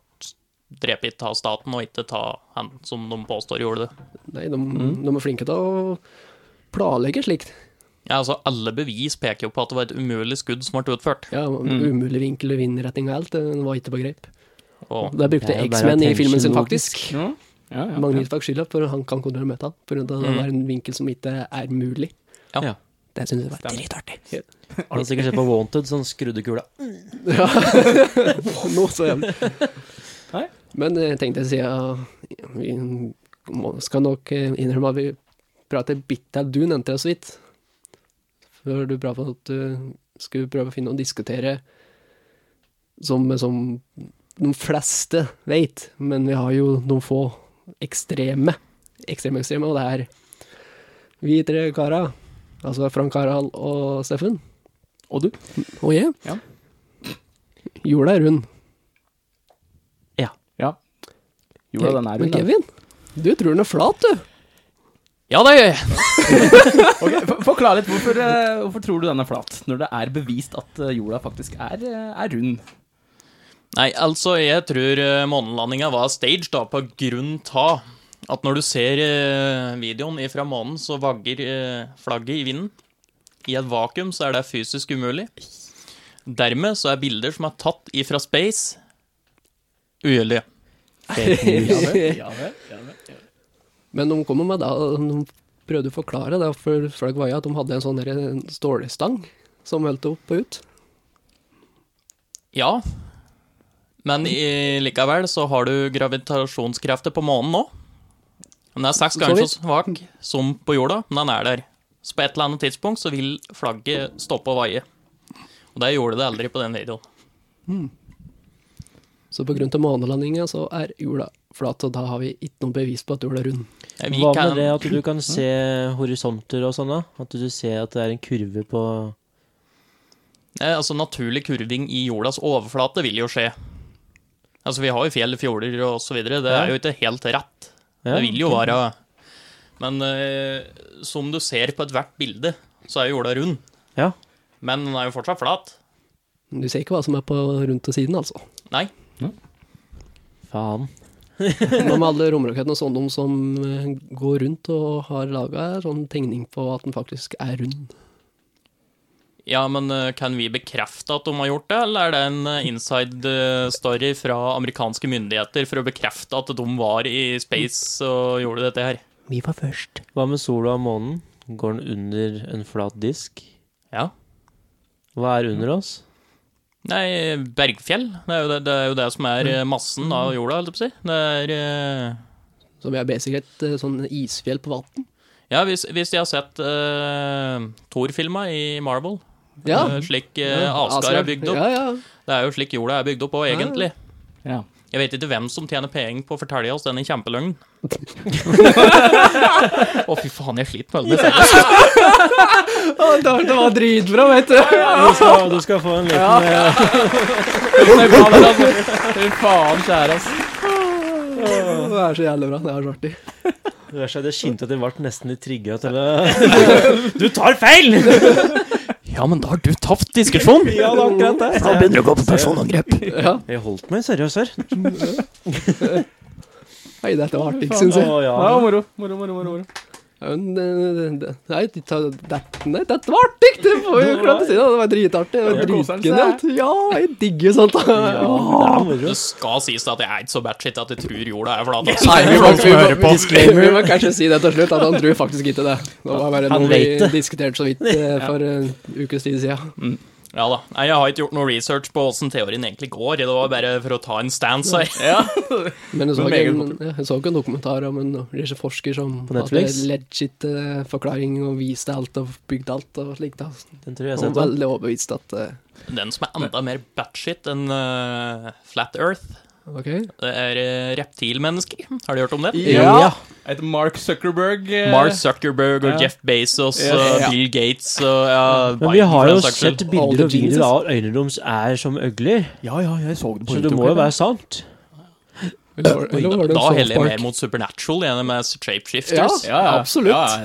E: drept av staten, og ikke av han som de påstår gjorde det.
A: Nei, de, de er flinke til å planlegge slikt.
E: Ja, altså Alle bevis peker jo på at det var et umulig skudd som ble utført.
A: Ja, Umulig vinkel og vindretning og alt, den var ikke på grep.
E: Og
A: Der brukte
C: Det er jo bare
A: X-Men i filmen sin,
C: attention
A: faktisk.
B: Ja, ja, Mm. ja.
A: Magnitfag skylda, for han kan kontrollere meta. For det var en vinkel som ikke er mulig.
E: Ja.
C: Ja.
A: Det syns jeg var dritartig.
C: Han har sikkert sett på Wanted, sånn skrudekula.
A: Ja. Nå så jævlig.
B: Nei.
A: Men eh, jeg tenkte siden Vi må- skal nok eh, innrømme at vi prater bitte Du nevnte det så vidt. Før du pratet om at du skulle prøve å finne og diskutere som, eh, som de fleste vet, men vi har jo noen få ekstreme. Ekstreme, ekstreme, og det er vi tre kara. Altså Frank Harald og Steffen.
B: Og du?
A: Og jeg.
B: Ja.
A: Jorda er rund.
B: Ja. Jorda, den er
A: Men
B: rund.
A: Kevin, du tror den er flat, du.
E: Ja, det
B: Okay, for- forklar litt. Hvorfor, eh, hvorfor tror du den er flat, når det er bevist at eh, jorda faktisk er, eh, er rund?
E: Nei, altså, jeg tror eh, månelandinga var staged, da, på grunn av at når du ser eh, videoen fra månen, så vagger eh, flagget i vinden. I et vakuum så er det fysisk umulig. Dermed så er bilder som er tatt ifra space, ugyldige.
B: Ja,
A: Men de kommer med da, de prøvde å forklare det, for folk var jo at de hadde en sånn der stålstang som holdt opp og ut.
E: Ja, men i, likevel så har du gravitasjonskrefter på månen nå. Den er seks
A: Så
E: ganger så
A: vidt.
E: svak som på jorda, men den er der. Så på et eller annet tidspunkt så vil flagget stoppe å vaie. Og det gjorde det aldri på den videoen.
A: Så på grunn til månelandinga så er jorda flat, og da har vi ikke noe bevis på at jorda er rund.
E: Eh, Vi
C: Hva
E: kan,
C: med det at du kan se horisonter og sånn, da? At du ser at det er en kurve på
E: eh, altså Naturlig kurving i jordas overflate vil jo skje. Altså Vi har jo fjell, fjorder og så videre. Det er jo ikke helt rett.
C: Ja.
E: Det vil jo være Men eh, som du ser på ethvert bilde, så er jo jorda rund.
C: Ja.
E: Men den er jo fortsatt flat.
A: Du ser ikke hva som er på rundt og siden, altså.
E: Nei.
C: Faen.
A: Men med alle romrakettene og sånne de som eh, går rundt og har laga sånn tegning på at den faktisk er rund.
E: Ja, men eh, kan vi bekrefte at de har gjort det, eller er det en eh, inside eh, story fra amerikanske myndigheter for å bekrefte at de var i space og gjorde dette her?
A: Vi var først.
C: Hva med sola og månen? Går den under en flat disk?
E: Ja.
C: Hva er under oss?
E: Nei, bergfjell. Det er jo det, det, er jo det som er eh, massen av jorda, holdt jeg på å si. Det er eh,
A: Så vi er basically et eh, sånn isfjell på vann.
E: Ja, hvis, hvis de har sett uh, Thor-filma i Marvel,
A: Ja.
E: eh, slik eh, Asgard er bygd opp
A: Ja, ja.
E: Det er jo slik jorda er bygd opp òg, egentlig.
B: Ja.
E: Jeg vet ikke hvem som tjener penger på å fortelle oss denne kjempeløgnen. Å, fy faen, jeg sliter med det.
A: Det var dritbra, vet du.
C: Du skal, du skal få en liten eh,
B: Nei, faen, altså. Fy faen, kjære, ass.
A: Det er så jævlig bra. Det er så artig.
C: Det verste er at jeg skinte at jeg ble nesten litt trigga til å Du tar feil!
E: Ja, men da har du tapt diskusjonen!
C: Ja, det er akkurat det. Da begynner du å gå på personangrep.
A: Ja.
C: Jeg holdt meg seriøs her.
A: Hei, dette var artig,
B: Faen,
A: syns jeg.
C: Å, ja.
B: Ja, moro, moro, moro, moro, moro.
A: Ja, men, eh, det- Nei, de tar- det- nei, dette var artig! Det får vi jo klart å si. da. Det var dritartig. Det var
B: Ja, koseren, så
A: Dritgenialt. Ja, jeg digger sånt.
C: Ja,
A: da.
C: det er moro.
E: Det skal sies at jeg er ikke så batshit at jeg tror jorda er flat. altså.
A: Nei, vi må, vi,
E: hører
A: må,
E: på.
A: disclaimer, vi må kanskje si det til slutt, at han tror faktisk ikke det. Det var bare
C: Han
A: noe vi
C: vet det.
A: diskuterte så vidt eh, for en ukes tid siden.
E: Ja da. Nei, jeg har ikke gjort noe research på åssen teorien egentlig går. Det var bare for å ta en stance her.
A: Men jeg så,
B: Men
A: ikke
B: meget
A: en, ja, jeg så ikke en dokumentar om en norsk forsker som
C: På
A: hadde
C: Netflix?
A: legit eh, forklaring og viste alt og bygde alt og slikt. da.
C: Den tror jeg jeg
A: Og
C: har sett.
A: veldig overbevist at eh,
E: Den som er enda mer batshit enn eh, Flat Earth,
A: OK.
E: det er eh, reptilmennesker. Har du hørt om det?
B: Ja. Et Mark Zuckerberg. eh,
E: Mark Zuckerberg og
B: Ja.
E: Jeff Bezos
B: Ja.
E: og Bill Gates og ja,
C: Men vi
E: Biden, for
C: har jo
E: den saks skyld.
C: sett bilder
A: All
C: og
A: the
C: videoer
A: geniuses.
C: av at øynene deres er som øgler,
B: Ja, ja, jeg så det på
C: så det må jo være sant.
A: Eller, var- eller var det en
E: Da
A: South
E: heller jeg
A: Park?
E: mer mot Supernatural enn med
A: Ja,
E: Shapeshifters.
B: Ja, ja.
A: absolutt.
B: Ja,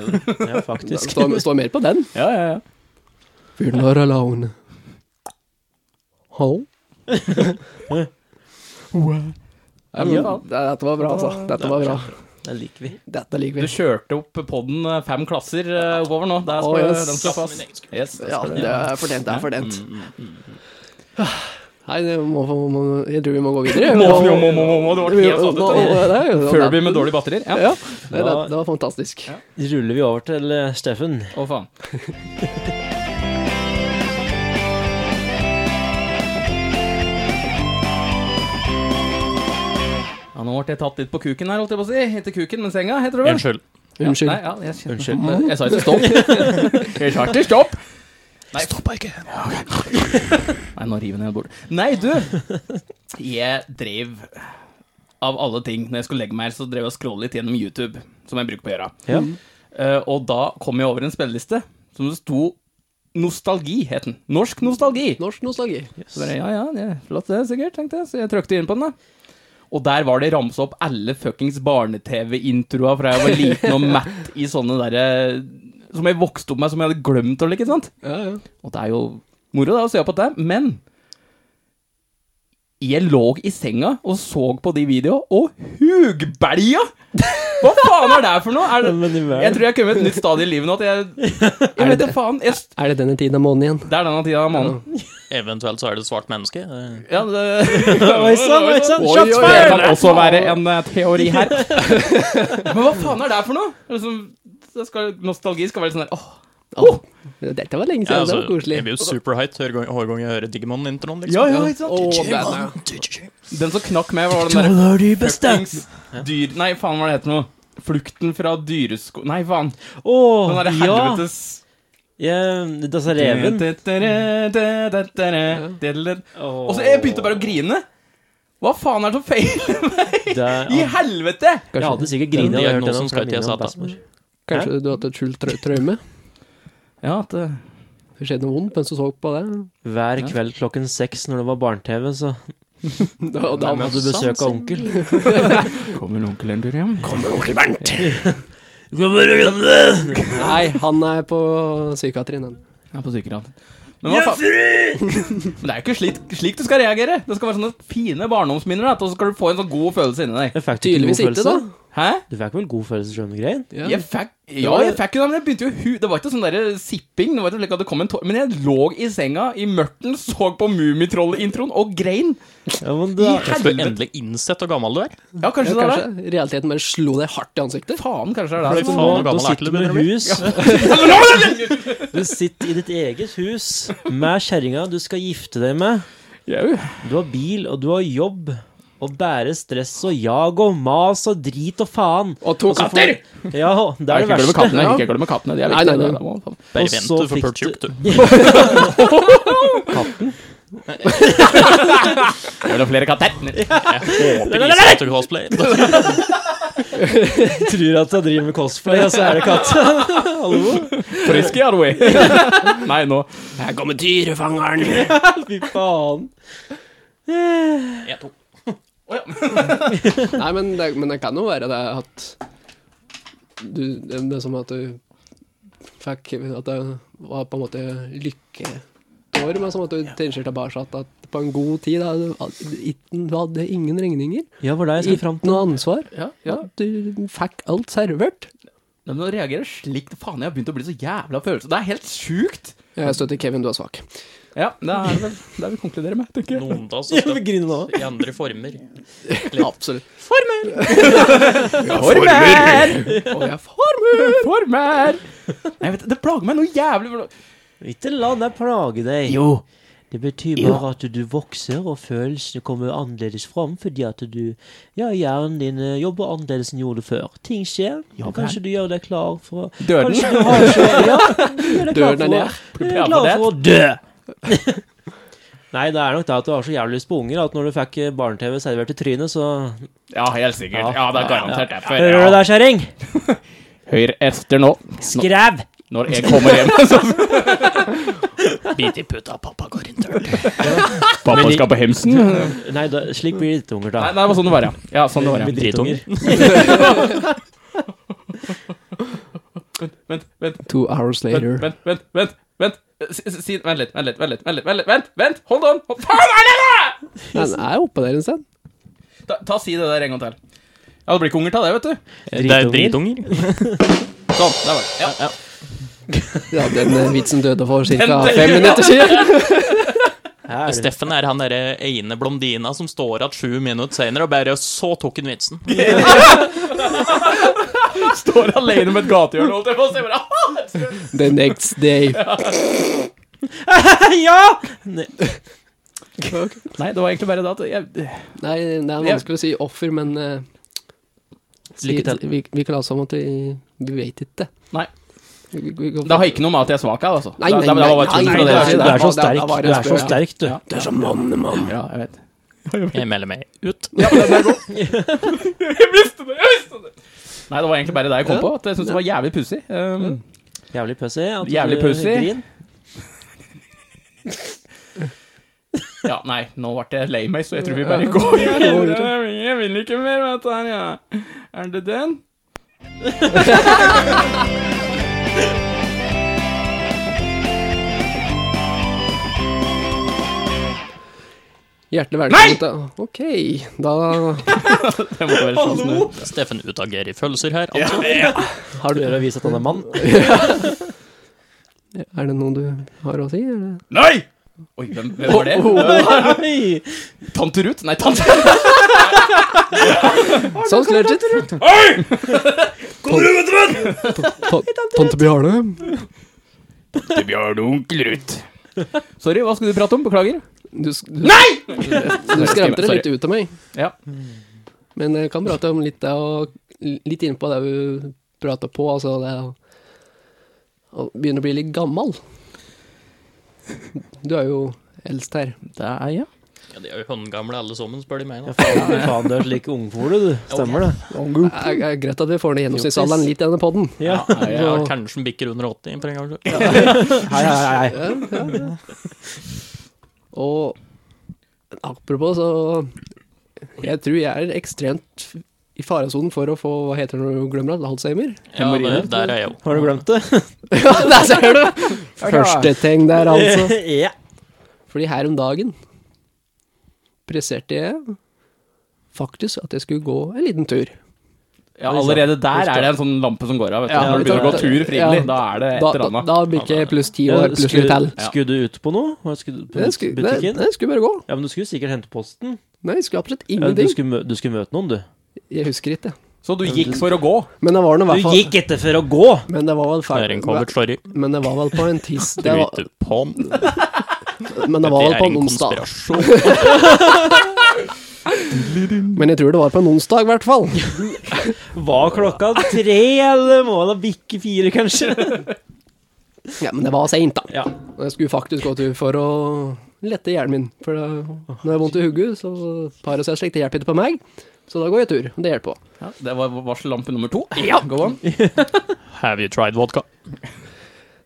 C: Ja,
A: Det
C: faktisk.
A: står, står mer på den.
B: ja, ja, ja.
A: We're not alone. Hallo? Ja, men,
B: Ja.
A: det- Dette var bra, altså. Dette var bra.
C: Det liker vi.
A: Dette liker vi.
B: Du kjørte opp podden eh, fem klasser eh, oppover nå. Der
A: Å,
B: skal
A: yes.
B: den slå fast. Yes, der
A: Ja,
B: skal
A: det
B: den.
A: er fortjent. Det er
B: Mm,
A: fortjent. Nei, det må, må, må, jeg tror vi må gå videre.
B: Må, må, må, må, må, det var
A: Vi-
B: helt sant,
A: må-
B: dette.
A: må- det er jo-
B: Furby med dårlige batterier. Ja.
A: Ja, det, det, det var fantastisk.
C: Ruller vi over til eh, Steffen.
B: Å, faen. Ja, nå ble jeg tatt litt på kuken her, holdt jeg på å si. Heter kuken, men senga, heter det vel?
E: Unnskyld.
A: Unnskyld.
B: Nei, ja, jeg, kjenner-
C: Unnskyld.
B: Nei, Jeg sa ikke stopp. Jeg sa ikke stopp. Nei, stoppa ikke. Nei, nå river jeg ned bordet. Nei, du! Jeg drev av alle ting Når jeg skulle legge meg her, så drev jeg og scrollet litt gjennom YouTube, som jeg bruker på å gjøre.
C: Ja.
B: Eh, og da kom jeg over en spilleliste som det sto Nostalgi, het den. Norsk nostalgi.
A: Norsk nostalgi.
B: Så bare, ja, ja, det er flott det, sikkert, tenkte jeg. Så jeg trykte inn på den, da. Og der var det ramsa opp alle fuckings barne-TV-introer fra jeg var liten og matt i sånne derre Som jeg vokste opp med, som jeg hadde glemt og like, sant?
A: Ja, ja.
B: Og det er jo moro da, å se på det, men jeg lå i senga og så på de videoene, og hugbelja! Hva faen er det for noe? Er det,
C: Men i
B: jeg
C: verden.
B: tror jeg har kommet et nytt stadie i livet nå at jeg Jeg vet da faen. Jeg,
A: Er det denne tiden av måneden igjen?
B: det er denne tida av måneden.
E: Eventuelt så er det et svart menneske. Eh,
B: Ja, det,
C: Oi sann, oi sann!
A: Oi, oi,
C: Shots
A: oi.
B: Det
C: fired!
B: kan også være en eh, teori her. Men hva faen er det for noe? Det er Liksom, det skal, nostalgi skal være sånn der åh,
A: Oh, dette var lenge siden. Det
E: Ja, altså,
A: var
E: jeg blir
A: koselig.
E: jo superheit hver gang hver gang jeg hører Digimon-introen.
B: ja,
E: Liksom.
B: ja, ikke sant?
A: Åh, det er-
B: Den som knakk meg, var den
C: Troller du
B: der
C: bestemt?
B: fuckings dyr... Nei, faen, hva er det heter nå? Flukten fra dyresko... Nei, faen.
C: Å,
B: Den derre
C: ja!
B: helvetes
C: ja Disse reven.
B: Og så jeg begynte bare å grine. Hå, Hva faen er det som feiler? I
C: Jeg
B: helvete!
C: hadde
A: Kanskje,
C: sikkert grinet av
E: Den
C: å høre
E: diagnosen
C: den
E: skal ikke jeg
C: om
E: sette.
C: bestemor.
A: kanskje du hadde et skjult trau- traume?
B: Ja, at det
A: Det skjedde noe vondt mens du så på det.
C: Hver
B: Ja.
C: kveld klokken seks når det var barne-TV, så
A: Og da
C: Da hadde du besøk av onkel.
B: Kommer onkel en tur hjem?
A: Nei, han er på psykiatrien, han.
B: Jeg er på sykehuset. Men, hva faen- Men det er jo ikke slik, slik du skal reagere. Det skal være sånne fine barndomsminner, da, og så skal du få en sånn god følelse inni deg.
C: Jeg fikk ikke
A: Tydeligvis
C: god
A: ikke, da.
C: følelse.
B: Hæ?
C: Du fikk vel god følelse skjønne greien?
A: Ja.
B: Jeg fikk, ja, jeg fikk jo det, men jeg begynte jo hu... Det var ikke sånn der sipping. Det var ikke slik at det kom en tår. Men jeg lå i senga i mørten, så på Mummitroll-introen og grein.
C: Ja, men
B: I
C: da,
E: Du har
B: helvete!
E: endelig innsett hvor gammel du er.
B: Ja,
A: Ja,
B: kanskje det er
A: kanskje
B: det.
A: realiteten bare slo deg hardt i ansiktet.
B: Faen, kanskje det er det. altså.
E: Fordi
B: som-
E: faen, hvor
C: nå
E: gammel er
C: sitter
E: ikke
C: du
E: du
C: med
E: begynner å bli?
C: hus. Du sitter i ditt eget hus med kjerringa du skal gifte deg med.
B: Jau.
C: Du har bil, og du har jobb. Og bære stress og jag og mas og drit og faen.
A: Og to katter!
C: Ja, det er det
B: Ikke glem
C: verste.
B: kattene. Ikke glem kattene. De er
A: Nei, nei, nei.
B: viktige.
C: Og
E: Bare vent,
C: så
E: du
C: fikk
E: får pørt kjupt, du.
B: Jeg vil ha flere katter.
E: Håper de sitter og cosplayer.
C: Tror at jeg driver med cosplay, og så er det katt. Hallo?
B: Frisk i Arway. Nei, nå.
A: Her kommer dyrefangeren!
C: Fy faen.
A: Nei, men det, men det kan jo være det at du Det det er som at du fikk At det var på en måte lykketår, men som at du tenker tilbake at, at på en god tid da, du, at, ikke- du hadde ingen regninger.
C: Ja, var det jeg skulle
A: Ikke
C: fram til.
A: noe ansvar.
B: Ja, ja.
A: At Du fikk alt servert.
B: Men å reagere slik Faen, jeg har begynt å bli så jævla følelse. Det er helt sjukt.
A: Jeg støtter Kevin, du er svak.
B: Ja, det er vel det er vi konkluderer med, tenker jeg.
E: Noen da så
C: Jeg vil
E: skal
C: grine nå.
E: i andre former.
A: Absolutt.
B: Former!
A: Og jeg får
B: Former! Jeg vet, det plager meg noe jævlig. for-
C: Ikke la deg plage deg. Jo. Det betyr bare at du vokser, og følelsene kommer annerledes fram fordi at du Ja, hjernen din eh, jobber annerledes enn gjorde før. Ting skjer.
B: Ja,
C: kanskje du gjør deg klar for å
B: Døden.
C: Kanskje du har ikke Ja, du gjør deg klar
A: Døden er
C: for å-
A: nær.
C: Du
B: Prepare
C: er
B: for
C: klar
B: det.
C: for å dø. Nei, det er nok det at du har så jævlig lyst på unger at når du fikk eh, barne-TV servert i trynet, så
B: Ja, helt sikkert. Ja, det er garantert derfor.
C: Hører du
B: Ja.
C: der, kjerring?
B: Høyre efter nå.
C: Skræv!
B: Når jeg kommer hjem, så
E: Bit i puta, pappa går inn døren.
B: Pappa skal på hemsen. Nei,
C: Nei, da, slik blir det ikke unger, da.
B: nei, det var sånn det var, ja. Ja, sånn det var, ja.
C: Blir drittunger.
B: Vent, vent.
A: Two hours later.
B: Vent, vent, vent, vent. Si, si- si, vent litt, vent litt, vent litt, vent litt, vent litt, vent, vent, hold on! Hold, faen er det da?!
A: Den er oppe der en sted.
B: Ta, ta si det der en gang til. Ja, det blir ikke unger til det, vet du.
E: Det er dritunger.
B: Sånn, der var det. Ja, ja.
A: Ja, den eh, vitsen døde for ca.
B: Den-
A: fem minutter siden.
C: Her er det.
E: Steffen er han derre ene blondina som står igjen sju minutter senere, og bare så tok han vitsen.
B: Står alene med et gatehjørne, holdt jeg på å si. Bare, ah!
A: The next day.
C: Ja!
B: Nei, det var egentlig bare det at jeg
A: Nei, det er vanskelig å si offer, men eh, si-
C: Lykke til.
A: Vi, vi kan late som at vi, vi vet ikke.
B: Nei.
A: Vi- vi- vi-
B: Det har ikke noe med at jeg er svak her, altså.
A: Nei, nei,
B: Det- det- det var
A: nei,
B: bare tull
A: nei,
B: fra
C: Du
A: nei,
B: dere
C: er
B: sin
C: så-
B: side.
C: du er så
A: Det er
C: sterk,
A: bare
C: du er så
A: spørsmål.
C: sterk, du.
B: Ja.
A: Du er som mann, mann.
B: Ja, jeg vet.
E: Jeg melder meg ut.
B: Ja, men den er god. Jeg visste det, jeg visste det! Nei, det var egentlig bare det jeg kom på. At jeg syntes det var jævlig pussig. Um,
C: Jævlig pussig. at du
B: Jævlig pussy.
C: grin.
B: Ja, nei, nå ble jeg lei meg, så jeg tror vi bare går. Jeg vil ikke mer, vet du. Ja. Er det den?
A: Hjertelig velkommen til Ok, da
B: Det måtte være sånn, sjansen.
E: Hallo! Steffen utagerer følelser her. Altså.
C: Har du å vise at han er mann?
A: Er det noe du har å si? eller?
B: Nei! Oi, hvem, hvem var det?
C: Oi!
B: Tante Ruth? Nei, tante Ruth!
A: Sånn, legit.
F: Kommer du, vet du!
A: Ta- Tante Bjarne.
B: Det Bjørn Onkel Ruth. Sorry, hva skulle du prate om? Beklager.
A: Du, s- du, Nei! Du skremte det
B: Sorry.
A: litt ut av meg.
B: Ja.
A: Men jeg kan prate om litt det og litt innpå det vi prata på, altså det å- å begynne å bli litt gammal. Du er jo eldst her.
B: Det er jeg.
E: Ja, de er jo håndgamle alle sammen, spør de meg.
C: Ja,
E: Da.
C: faen, fy faen, du er slik ungfole, du. Stemmer det?
A: Det er er greit at vi får ned gjennomsnittsalderen litt i denne poden.
C: Ja.
E: Ja, jeg
A: Nå-
E: er kanskje en bikker under 80 på en gang. Ja.
C: Hei, hei, hei.
A: Og apropos, så Jeg tror jeg er ekstremt f- i faresonen for å få Hva heter det når du glemmer det? Alzheimer?
E: Ja, der, der er jeg jo.
C: Har du glemt det?
A: ja, der ser du! Første ting der, altså.
C: ja.
A: Fordi her om dagen presserte jeg faktisk at jeg skulle gå en liten tur.
B: Ja, allerede der er det en sånn lampe som går av. Vet du.
A: Ja,
B: Når du begynner å gå
A: da-
B: tur frivillig,
A: ja.
B: da er det et
A: Da,
B: eller
A: da,
B: annet.
A: da blir ikke jeg pluss ti år plutselig til.
C: Skulle- Skulle du ut på noe? Var det Skulle, på
A: Jeg skulle, nei,
C: butikken?
A: nei, jeg skulle bare gå.
C: Ja, men du skulle sikkert hente posten.
A: Nei, jeg skulle absolutt
C: Ja, du,
A: ingenting.
C: skulle, mø- du skulle møte noen, du.
A: Jeg husker ikke.
B: Så du gikk for å gå?
A: Men det var nå i
C: Du
A: hvert fall
C: gikk etter for å gå!
A: Men det var vel
E: Det er en
A: feil.
E: covert, sorry.
A: Men det var vel på en tiss...
E: Du
A: Det var,
E: vet, pan.
A: men det var vel
E: Dette er
A: på
E: en
A: en onsdag.
E: konspirasjon.
A: Men jeg tror det var på en onsdag, i hvert fall.
C: Var klokka tre, eller må da bikke fire, kanskje?
A: Ja, men det var seint, da.
C: Ja.
A: Og jeg skulle faktisk gå tur for å lette hjernen min. For det, når jeg har vondt i hodet, så Paracet slikt det hjelper ikke på meg. Så da går jeg tur. Det hjelper på.
B: Ja, det var varsellampe nummer to. Ja, go on.
E: Have you tried vodka?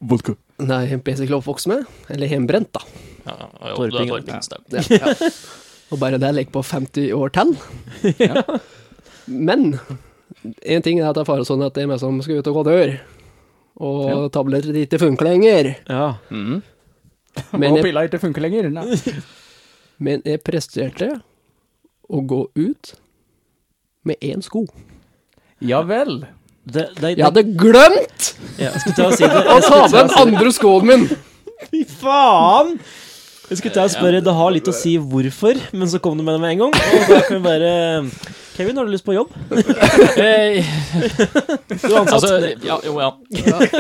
A: Det er jeg basically oppvokst med. Eller hjemmebrent, da.
E: Ja, ja, jo, det
C: Torping,
E: er Torping. stemmer.
A: Ja, ja. Og bare det ligger på 50 år til. Men en ting er at det er fare sånn at det er meg som skal ut og gå dør. Og tabletter ikke funker lenger.
C: Ja.
B: Mm.
A: Men
B: og
A: jeg,
B: pilla ikke funker lenger. Nei.
A: men jeg presterte å gå ut med én sko.
B: Ja vel.
C: Det, det, det,
A: Jeg hadde glemt
C: ja, jeg skulle til å si det.
A: å ta med den andre skoen min!
C: Fy faen! Jeg skulle til å spørre, det har litt å si hvorfor, men så kom du med det med en gang. Og da kan vi bare Kevin, har du lyst på jobb? Du er ansatt.
E: Altså, ja, jo, ja.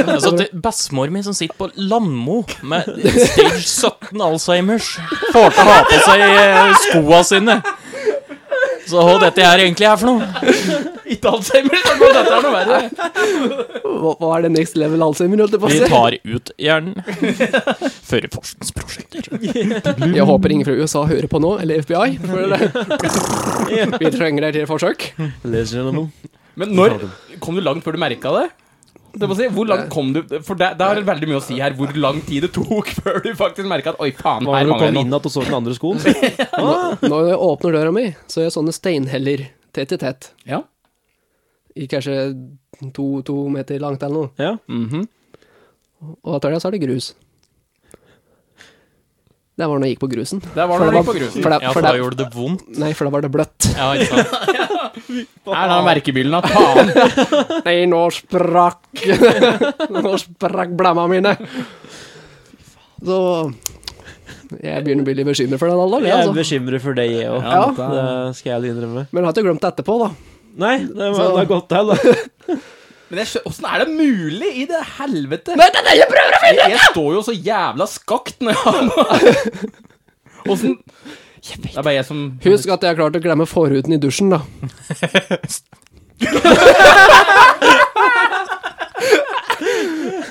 E: Altså, det er bestemor mi som sitter på Landmo med stage 17 Alzheimers, får til å ha på seg eh, skoa sine. Så hva dette her egentlig er for noe?
B: Ikke Alzheimer, så må dette er noe verre.
A: Hva, hva er det next level Alzheimer? holdt jeg på å
E: Vi
A: si?
E: tar ut hjernen for forskningsprosjekter.
A: Jeg håper ingen fra USA hører på nå, eller FBI. For det. Vi trenger det til forsøk.
C: Ladies and gentlemen.
B: Men når kom du langt før du merka det? Det må jeg si, hvor langt kom du? For det, det har veldig mye å si her hvor lang tid det tok før du faktisk merka at oi, faen,
C: Var
B: her
C: det du
B: mangler
C: kom
B: det
C: inn
B: noe.
C: at du så den andre skoen?
A: Når jeg åpner døra mi, så er jeg sånne steinheller tett i tett.
B: Ja.
A: I kanskje to, to meter langt eller noe.
C: Ja.
B: Mhm.
A: Og etter det så er det grus. Det var når jeg gikk på grusen.
B: Der var
A: For
B: det
A: det
B: litt på
A: var-
B: grusen.
A: for det-
E: Ja, for da gjorde det vondt.
A: Nei, for da var det bløtt.
E: Ja, ikke sant?
B: Er den merkebilen av faen?
A: Nei, nå sprakk Nå sprakk blemma mine! Så Jeg begynner å bli litt bekymret for den alderen, jeg,
C: Jeg er
A: altså.
C: bekymret for deg, jeg òg.
A: Ja.
C: Det skal jeg innrømme.
A: Men jeg har ikke glemt det etterpå, da.
C: Nei, det var,
A: Så-
C: det var godt til, da.
B: Men jeg skjø- åssen er det mulig i det helvete?
A: Men det er det jeg prøver å
B: Jeg, jeg står jo så jævla skakt når jeg har Åssen Det er bare jeg som
A: Husk at jeg har klart å glemme forhuden i dusjen, da.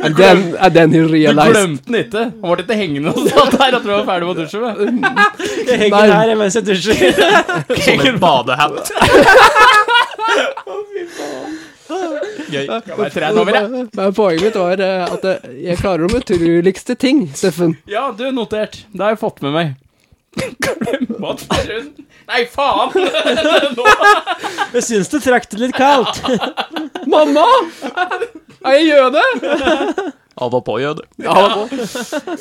A: Er den, er den he
B: Du
A: realized?
B: glemte den ikke. Han ble ikke hengende og satt der og trodde han var ferdig med å dusje. Med.
C: Jeg henger her mens jeg dusjer.
E: Som en badehett. Gøy.
B: Bare tre nummer, jeg.
A: Men poenget mitt var eh, at eh, jeg klarer de utroligste ting, Steffen.
B: Ja, du, notert. Det har jeg fått med meg. Glemme at forhuden Nei, faen!
C: Jeg syns det trakk det litt kaldt.
A: Mamma! Er jeg jøde?
E: Ava påjød.
A: Ja, og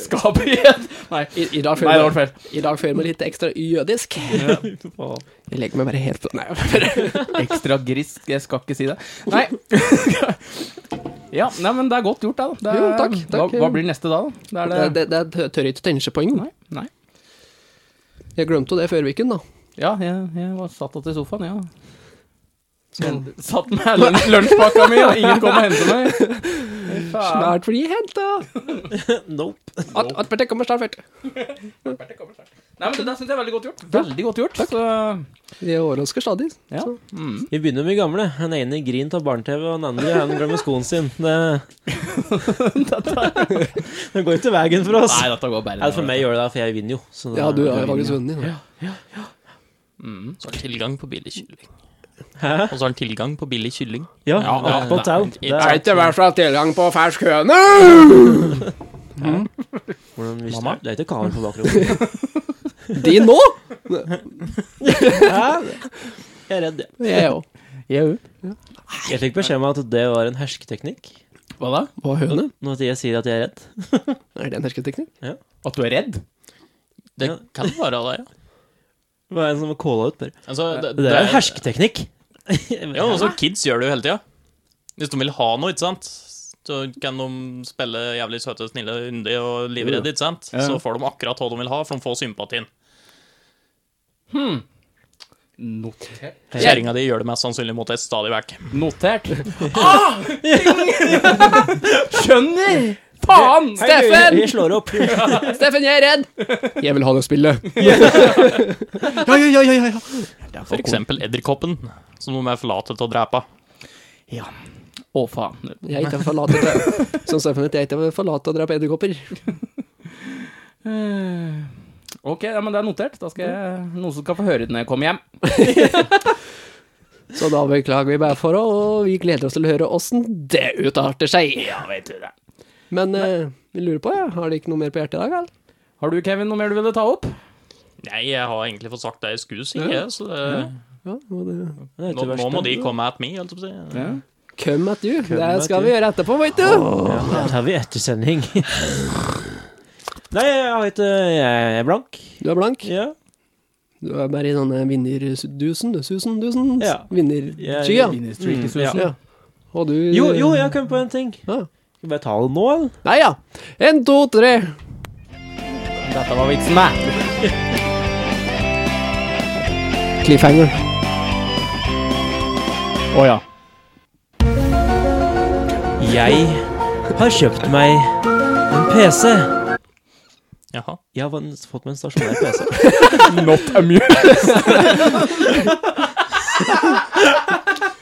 B: Skap igjen. Nei.
A: i, i dag
B: Nei, det
A: føler
B: var feil.
A: jeg- i dag føler jeg meg litt ekstra jødisk. Jeg legger meg bare helt på Nei,
B: Ekstra grisk. Jeg skal ikke si det. Nei. Ja, nei, men det er godt gjort, det. da. det er,
A: Jo, takk, takk.
B: Hva, hva blir neste da? da? Det er det,
A: det, det, det tør jeg ikke tenke på engang.
B: Nei. nei.
A: Jeg glemte jo det før viken, da.
B: Ja, jeg, jeg var satt igjen i sofaen, ja. Jeg Satt med lun lunsjpakka mi, og ingen kom og hentet meg. Fy faen.
A: Snart blir jeg henta.
C: Nope.
A: At, at Berte kommer snart, Berte.
B: Nei, men Det der syns jeg er veldig godt gjort. Veldig godt gjort. Så,
A: Vi overrasker stadig.
B: ja.
A: Så.
B: mm.
C: Vi begynner med de gamle. Den ene griner av barne-TV, og den andre han glemmer skoen sin. Det, det går ikke veien for oss.
B: Nei, dette går bare
C: Eller for meg gjør det det, for jeg vinner jo. Så det-
A: Ja, du har jo faktisk vunnet. da.
B: Mm.
E: Så har han tilgang på billig kylling.
C: Hæ?
E: Og så har han tilgang på billig kylling.
C: Ja,
E: Ja, ja,
C: opp på tau. Det
E: ja.
C: er
A: ikke hvert fall tilgang på fersk høne!
C: hvordan vi starter. Det er ikke kamera på bakrommet.
A: De nå?
C: Hæ? Jeg er redd, jeg.
A: Jeg òg.
B: Jeg òg.
C: Jeg fikk beskjed om at det var en hersketeknikk.
B: Hva da?
A: Hva er høne?
C: Når jeg sier at jeg er redd.
A: Er det en hersketeknikk?
B: At du er redd?
E: Det kan være det, ja.
C: Det var en som calla ut, bare.
E: Altså, det,
C: Det er jo en hersketeknikk!
E: Ja, også kids gjør det jo hele tida. Hvis de vil ha noe, ikke sant, så kan de spille jævlig søte, snille, yndige og livredde, ikke sant.
B: Ja.
E: Så får de akkurat hva de vil ha, for de får sympatien.
B: Notert.
E: Kjerringa di gjør det mest sannsynlig mot deg stadig vekk.
B: Notert. Ah! Skjønner! Faen! Steffen!
C: Vi slår opp.
A: Steffen, jeg er redd! Jeg vil ha det spillet.
E: Ja, ja, ja, ja, For eksempel edderkoppen, som de er for late til å drepe.
B: Ja. Å, faen.
A: Jeg er ikke for lat til det. Som Steffen vet, jeg er ikke for lat til å drepe edderkopper.
B: Eh, Ok, ja, men det er notert. Da skal jeg, Noen som skal få høre det når jeg kommer hjem.
A: Så da beklager vi bare for det, og vi gleder oss til å høre åssen det utarter seg.
B: Ja, vet du det.
A: Men eh, vi lurer på, ja, har de ikke noe mer på hjertet i dag, vel?
B: Har du, Kevin, noe mer du ville ta opp?
E: Nei, jeg har egentlig fått sagt det jeg skulle si, jeg, så det,
A: Ja, og det...
C: Det er
E: nå,
C: ikke verst,
E: nå må de
C: det.
E: komme at me, holdt jeg på å si.
A: Come at you.
C: Come
A: det
C: at
A: skal
C: you.
A: vi gjøre etterpå, vet du.
C: Ja, der tar vi ettersending. Nei, jeg har ikke Jeg er blank.
A: Du er blank.
C: Ja.
A: Du er bare i sånne vinnerdusen, susen, dusen.
C: Ja. Jeg-
A: Vinnerskya.
C: Mm, ja.
A: Ja. Og du
C: Jo, jo, jeg har kommet på en ting.
A: Ja.
C: Skal vi bare ta det nå, eller?
A: Nei ja. En, to, tre.
B: Dette var vitsen, nei.
A: Cliffhanger.
B: Å ja.
C: Jeg har kjøpt meg en PC.
E: Jaha.
C: Jeg har van- fått meg en stasjonær PC.
B: Not amused.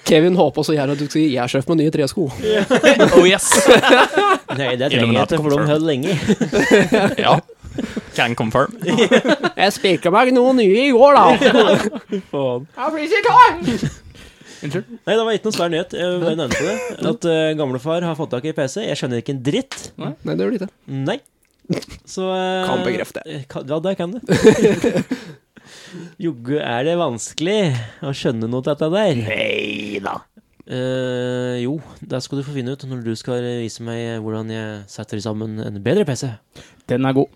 A: Kevin håper så gjerne at du skal si 'jeg er sjef med nye tresko'.
E: Oh yes!
C: Nei, det trenger jeg
E: Illuminati
C: ikke, for de
E: confirmed.
C: holder lenge.
E: Ja. Can confirm.
A: Jeg spikra meg noen nye i går, da.
C: Faen.
B: Unnskyld.
C: Nei, det var ikke noe svær nyhet. Jeg bare nevnte det. At eh, gamlefar har fått tak i PC. Jeg skjønner ikke en dritt.
A: Nei, det gjør du ikke.
C: Nei. Så eh,
A: Kan bekrefte.
C: eh, kan- Ja, det kan du. Joggu er det vanskelig å skjønne noe av dette der. Nei da. jo, det skal du få finne ut når du skal vise meg hvordan jeg setter sammen en bedre PC.
B: Den er god.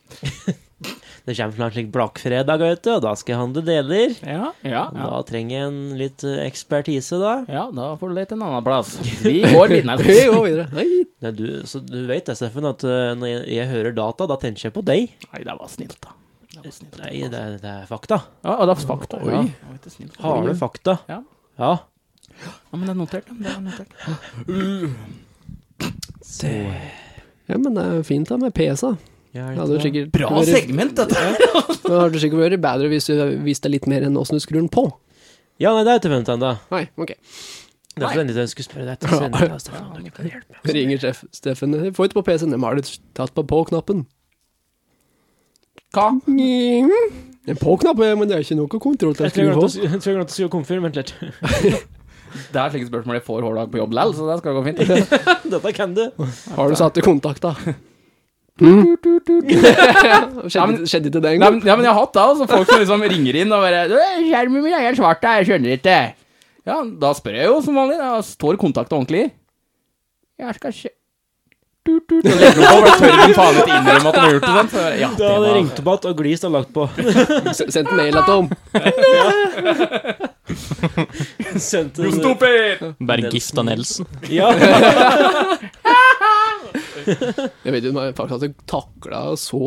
C: Det kommer snart slik blakkfredag, vet du, og da skal jeg handle deler.
B: Ja, ja,
C: Og
B: ja.
C: Da trenger jeg en litt eh, ekspertise, da.
B: Ja, da får du lete en annen plass. Vi går
A: Vi
B: videre.
A: går videre. Nei,
C: Nei, du, så du vet det, Steffen, at eh, når jeg, jeg hører data, da tenker jeg på deg.
B: Nei, det var snilt, da. Det var snilt.
C: Nei, det, er- det er fakta.
B: Ja, og det er fakta. Ja.
A: Oi.
B: Det var ikke snilt.
C: Harde fakta.
B: Ja.
C: ja.
B: Ja, men det er notert. Det er notert.
C: Så
A: Ja, men det er jo fint da med PSA.
C: Ja,
A: Det hadde jo sikkert vært-
B: segment, dette.
A: det hadde sikkert vært bedre hvis du visste litt mer enn åssen du skrur den på.
C: Ja, nei, det er ikke ventet ennå.
A: Nei, ok.
C: Derfor tenkte jeg skulle spørre deg etter sending. da, Steffen, om du kan hjelpe meg.
A: Ringer sjef Steffen. Jeg får ikke på PC-en. Jeg har det tatt på på-knappen.
B: Hva?
A: Det er På-knapp, men det er ikke noe kontroll til å
C: Jeg tror jeg
A: skru
C: glemte
A: på.
C: å si- jeg tror jeg glemte å si å konfirmere, vent litt.
B: Det er slike spørsmål jeg får hver dag på jobb likevel, så det skal gå fint.
C: Dette kan du.
A: Har du satt i kontakt, da? skjedde, skjedde ikke det
B: Nei,
A: engang?
B: men, ja, men jeg har hatt det, altså. Folk som liksom ringer inn og bare «Du, 'Skjermen min er helt svart, da, jeg skjønner ikke'. Ja, da spør jeg jo som vanlig. Da står kontakten ordentlig i. Jeg skal se du, du, du. Så legger de på, bare tør de faen ikke innrømme at de har gjort det sånn. Så bare, ja,
C: Da hadde jeg
B: det
C: ringt opp igjen og glist og lagt på.
A: S- Sendt mail at om.
C: Sendt
B: var
C: en-
B: stupid!
E: Bare gifta Nelson.
C: Ja.
A: Jeg vet jo men faktisk at du takla så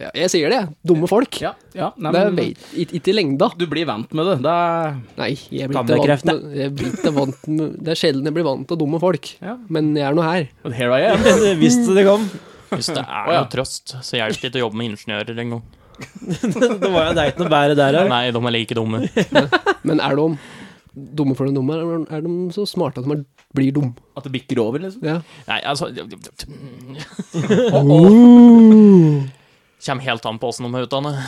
A: ja, Jeg sier det, jeg. Dumme folk.
B: Ja, ja, nei,
A: Det er
B: men,
A: vei- ikke ikke i lengda.
B: du blir vant med det. Det er,
A: Nei, jeg blir
C: Gamle
A: ikke vant
C: krefter.
A: med, jeg blir ikke vant med Det er sjelden jeg blir vant til dumme folk.
B: Ja.
A: Men jeg er nå her.
B: here I am.
C: Hvis det kom.
E: Hvis det er
B: Å, ja.
E: noe trøst, så hjelper det ikke å jobbe med ingeniører engang.
C: Det var jo det er ikke noe bedre der. ja.
E: Nei, de er like dumme.
A: Men er de dumme for den dumme, eller er de så smarte at de er- blir dum?
B: At det bikker over, liksom.
A: Ja.
E: Nei, altså Kjem helt an på åssen de er utdannet.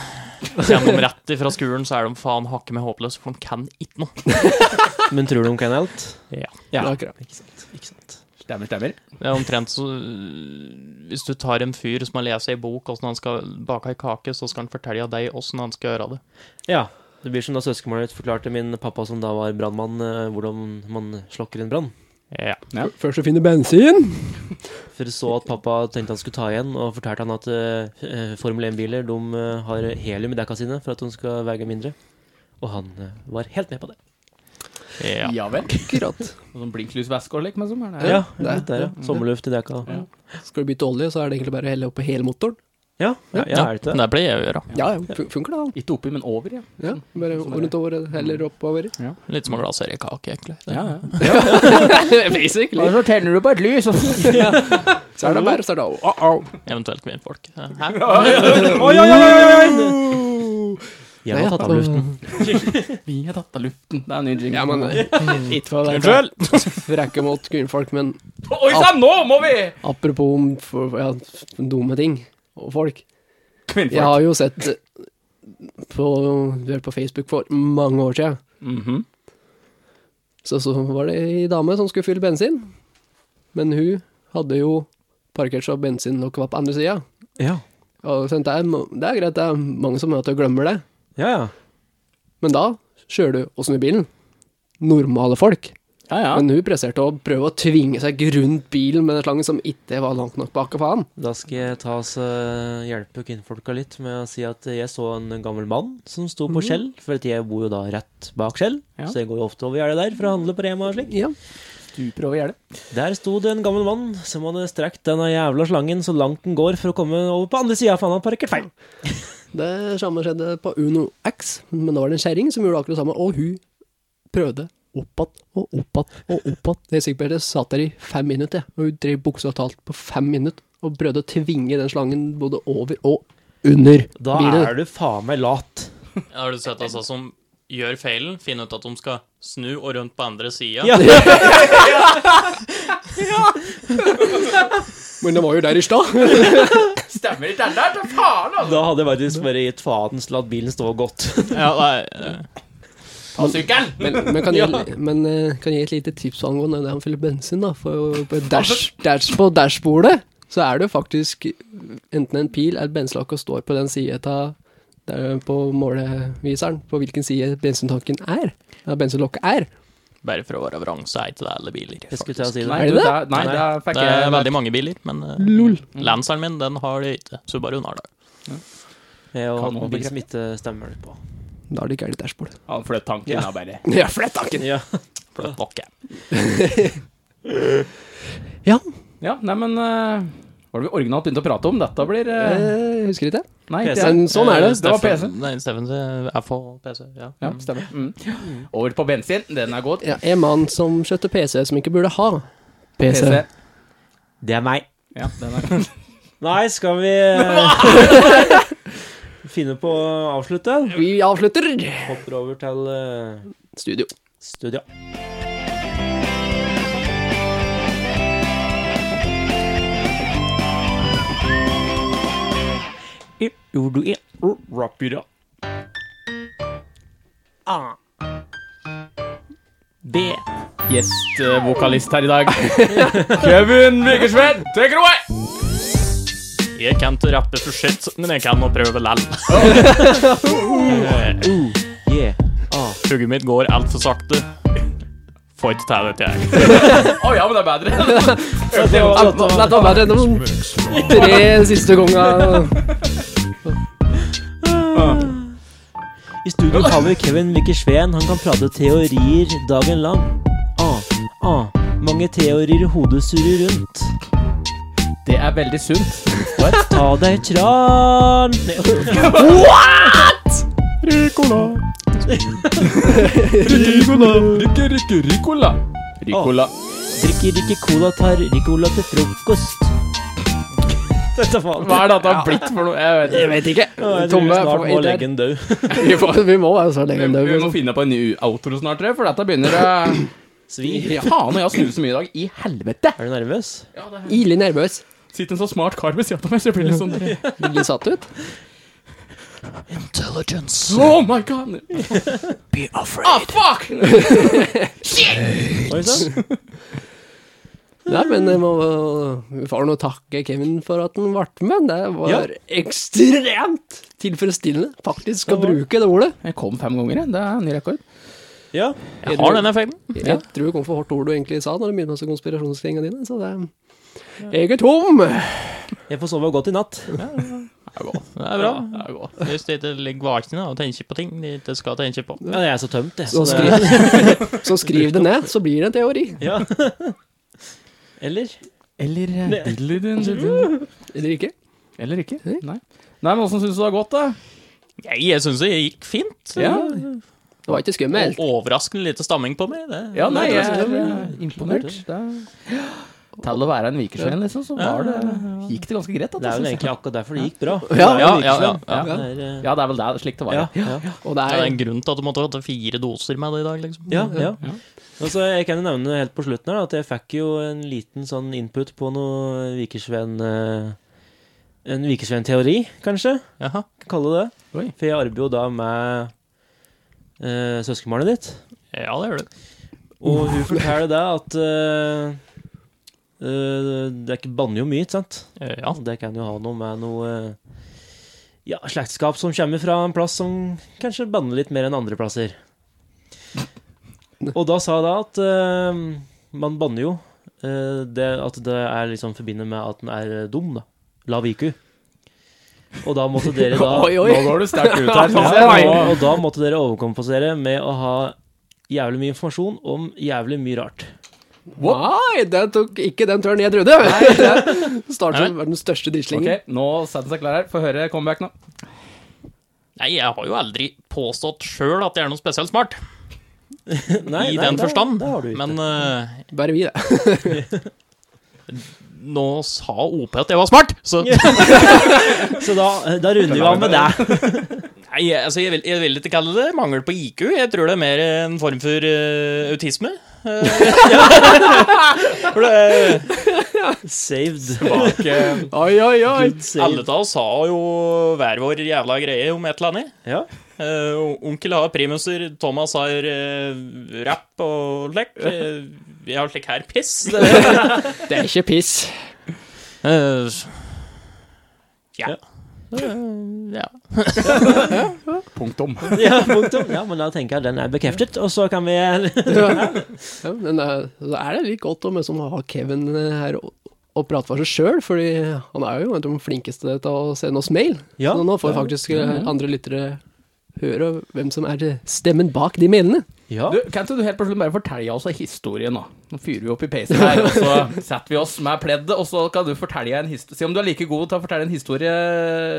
E: Kjem de rett ifra skolen, så er de faen hakket med håpløse, for de kan ikke noe.
C: Men tror du de kan alt?
E: Ja.
A: Ja.
C: Ja.
A: akkurat.
C: Ikke sant. Ikke sant.
B: Stemmer, stemmer.
E: Det er omtrent så øh, Hvis du tar en fyr som har lest ei bok åssen han skal bake ei kake, så skal han fortelle deg åssen han skal gjøre det.
C: Ja. Det blir som da søskenbarnet mitt forklarte min pappa, som da var brannmann, eh, hvordan man slokker en brann.
E: Ja.
A: Først å finne bensin.
C: For så at pappa tenkte han skulle ta igjen, og fortalte han at eh, eh, Formel 1-biler de eh, har helium i dekka sine for at de skal veie mindre. Og han eh, var helt med på det.
E: ja.
B: Ja vel.
A: Akkurat.
B: Og sånn blinklysveske og lik, men sånn er det.
C: Ja,
A: det er-
C: litt der, ja. Sommerluft i dekka.
B: Ja.
A: Skal du bytte olje, så er det egentlig bare å helle oppå hele motoren.
C: Ja, ja, ja, er det ikke det?
E: Det pleier jeg å gjøre.
A: Ja, ja, fun- funker det, da. Sånn
B: Ikke oppi, men over, ja.
A: Ja, bare rundt over, heller oppover.
E: Litt som å glasere kake, egentlig. Det.
B: ja, ja.
A: Basically.
B: så tenner du på et lys, og
A: Så er det bare så er det au, au.
E: Eventuelt kvinnfolk. Hæ?
C: Jeg har tatt av luften.
B: Vi har tatt av luften. Det er en ny jingle.
A: Ja, men Ikke for å være
E: Unnskyld!
A: frekke mot kvinnfolk, men
B: Oi sann, nå må vi!
A: apropos om for, ja, dumme ting og folk.
B: Kvinnfolk.
A: Jeg har jo sett eh, på, vel, på Facebook for mange år siden,
B: Mhm.
A: så, så var det ei dame som skulle fylle bensin. Men hun hadde jo parkert seg bensinlokket var på andre sida.
C: Ja,
A: Og så tenkte jeg, "Må- det er greit, det er mange som møter og glemmer det.
C: ja. ja.
A: Men da kjører du og snur bilen. Normale folk.
B: Ja, ja.
A: Men hun presterte å prøve å tvinge seg rundt bilen med den slangen som ikke var langt nok bak. og faen.
C: Da skal jeg ta oss, eh, hjelpe kvinnfolka litt med å si at jeg så en gammel mann som sto på Skjell, for at jeg bor jo da rett bak Skjell,
B: Mhm. Ja.
C: så jeg går jo ofte over gjerdet der for å handle på Rema og slik.
B: Du prøver å gjøre det.
C: Der sto det en gammel mann som hadde strekt denne jævla slangen så langt den går for å komme over på andre sida, for han hadde parkert feil.
A: Det samme skjedde på Uno X, men da var det en kjerring som gjorde akkurat det samme, og hun prøvde opp igjen og opp igjen og opp igjen. Jeg er sikker på at jeg satt der i fem minutter, jeg, og hun drev buksa og talt på fem minutter, og prøvde å tvinge den slangen både over og under
C: Da
A: bilen.
C: er du faen meg lat.
E: Har du sett altså som gjør feilen, finner ut at de skal snu og rundt på andre sida?
C: Ja.
A: Men det var jo der i stad.
B: Stemmer ikke den der, til faen, altså!
C: Da hadde jeg faktisk bare gitt faen så latt bilen stå godt.
E: Ja, nei, eh,
B: Ta sykkelen!
A: Men, men, kan, jeg, men eh, kan jeg gi et lite tips angående det han fyller bensin, da? For på, dash, dash, på dashbordet så er det jo faktisk enten en pil eller et bensinlokk og står på den sida på måleviseren på hvilken side bensintanken er. Ja, bensinlokket er.
E: bare for å være vrang, så er ikke det alle biler.
C: Jeg skulle til å si det.
B: Nei,
A: Er det
B: du,
A: det?
B: der- Nei,
C: Nei.
B: der fikk
E: Det er
B: jeg
E: veldig mange biler, men eh,
A: Lol.
E: Lanceren min, den har det ikke. Subaru Nardal.
C: Jeg har
B: Kan
C: hatt
B: noen
C: en bil som ikke stemmer på.
A: Da er det gærent dashbord.
B: Han fløt tanken,
C: Ja.
B: da, bare.
A: Ja, flett tanken!
C: Ja.
E: Flott nok, jeg.
A: Ja,
B: Ja, nei, men eh, Hva var det vi originalt begynte å prate om? Dette blir eh,
A: eh, husker ikke det.
B: Nei,
C: PC.
B: det er-
A: Men sånn er det.
E: Eh,
B: Det var
E: Steffen-
B: PC.
E: Nei, Steffen er for PC, ja.
B: Ja, stemmer. Mm. Over på bensin. Den er god.
A: Ja, en mann som kjøpte PC som ikke burde ha PC.
B: PC.
C: Det er meg.
B: Ja, den er
C: Nei, skal vi eh, finne på å avslutte?
A: Vi avslutter
C: Hopper over til eh,
A: studio.
C: studio. It will do it. Oh, wrap it up. A. B.
B: gjestvokalist eh, her i dag. Kevin Vikersveen, take it away!
E: Jeg kan ikke rappe for shit, men jeg kan å prøve lell. Eh,
C: Yeah. A.
E: Hugget mitt går altfor sakte. Får ikke til dette, jeg.
B: Å ja, men det er bedre.
A: Dette dette var bare de tre siste gangene.
C: I studio har vi Kevin Lykke Sveen. Han kan prate teorier dagen lang. Ah, ah, mange teorier hodet surrer rundt.
B: Det er veldig sunt.
C: Ta deg tran Nei,
B: Ricola. Rikke, rikke, ricola. Ricola.
C: Drikker ikke cola, tar Ricola til frokost. Dette faen.
B: Hva er dette blitt for noe? Jeg vet ikke.
A: Jeg vet ikke. Tomme får vi der.
C: den død.
A: Vi, får- vi må være så lenge
B: Vi, vi
A: døde.
B: må finne på en ny outro snart, tror jeg, for dette begynner å
C: Svi.
B: Faen, jeg har snudd så mye i dag. I helvete!
C: Er du nervøs?
A: Ille nervøs.
B: Sitter en så smart kar ved siden av meg, så jeg blir litt sånn
A: Litt satt ut.
B: Oh my god! Be afraid. Ah, fuck!
C: Oi sann.
A: Nei, men jeg må, vi får nå takke Kevin for at han ble med. Det var
C: Ja.
A: ekstremt tilfredsstillende, faktisk, å bruke det ordet.
B: Jeg kom fem ganger, jeg. Det er ny rekord.
C: Ja.
A: Jeg
E: Har
A: tror,
E: den effekten.
A: jeg, tror det kom for hardt ord du egentlig sa når du begynte med konspirasjonskringene dine, så det Jeg er tom!
C: Jeg får sove godt i natt.
E: Det er bra. Hvis du ikke ligger våken og tenker på ting de ikke skal tenke på.
C: Ja, jeg er så tømt, jeg.
A: Så
C: det-
A: skriv, så skriv det ned, så blir det en teori.
C: Ja. Eller?
B: Eller eh,
C: Det-
B: diddly-dun-dun-dun.
A: Eller ikke?
B: Eller ikke. Nei. Nei, men åssen syns du det har gått, da?
E: Nei, jeg syns det gikk fint.
A: Det var ikke skummelt.
E: Og overraskende lite stamming på meg. Det.
B: Ja, nei, jeg
C: det
B: er
C: blir-
B: eh, imponert. Det er- Til å være en vikersvein, liksom, så var det, gikk det ganske greit. Da,
C: Det er vel
B: synes jeg.
C: egentlig akkurat derfor det gikk bra.
A: Ja,
E: ja, ja,
C: Ja,
E: ja, ja.
C: det er, eh,
B: Ja, det er vel det, slik det var.
C: ja,
B: Ja.
C: ja.
A: Og det
E: Det er en
A: er
E: grunn til at du måtte ha fire doser med det i dag, liksom.
C: ja, ja. Og så jeg kan jo nevne helt på slutten her da, at jeg fikk jo en liten sånn input på noe Vikersven... eh, En Vikersven-teori, kanskje?
E: Jaha.
C: Kan kalle det det.
B: Oi.
C: For jeg arbeider jo da med uh, søskenbarnet ditt.
E: Ja, det gjør du.
C: Og hun forteller deg at eh, eh, det er ikke banner jo mye, ikke sant?
E: Eh, Ja.
C: Det kan jo ha noe med noe eh, ja, slektskap som kommer fra en plass som kanskje banner litt mer enn andre plasser. Og da sa jeg da at eh, man banner jo eh, det, at det er liksom forbindet med at den er eh, dum, da. Lav IQ. Og da måtte dere da
A: Oi, oi!
B: Nå går du sterkt ut her. sånn. synes
C: ja,
B: jeg.
C: og, og da måtte dere overkompensere med å ha jævlig mye informasjon om jævlig mye rart.
A: Nei, det tok ikke den turen jeg trodde! Starter som verdens største drittslingen.
B: Ok, nå setter han seg klar her. Få høre comeback nå.
E: Nei, jeg har jo aldri påstått sjøl at jeg er noe spesielt smart,
C: Nei, nei,
E: i den
C: det-
E: forstand,
C: det har du ikke.
E: men eh,
A: Bare vi, det.
E: nå sa OP at jeg var smart, så
C: Så da, eh, da runder vi av med det.
E: Nei, jeg- altså, jeg vil, jeg vil ikke kalle det mangel på IQ. Jeg tror det er mer en form for eh, autisme. Eh, for det,
C: Saved.
E: bak, eh,
A: Oi, oi, oi!
C: Good
E: alle
C: saved.
E: av oss har jo hver vår jævla greie om et eller annet.
C: Ja.
E: Eh, on- onkel har primuser, Thomas har eh, rapp og lekk. Eh, jeg har slik her piss.
A: Det er ikke piss.
E: Eh, ja. ja.
B: Punktum.
C: Ja, punktum. Ja, men da tenker jeg den er bekreftet, og så kan vi
A: Ja, men det er, så er det litt godt å liksom ha Kevin her og, og prate for seg sjøl, fordi han er jo en av de flinkeste til å sende oss mail.
C: Ja.
A: så nå får faktisk eh, andre lyttere høre hvem som er stemmen bak de mailene.
C: Ja.
B: Du, kan ikke du helt på slutten bare fortelle oss historien, da? Nå fyrer vi opp i peisen her, og så setter vi oss med pleddet, og så kan du fortelle en historie Se om du er like god til å fortelle en historie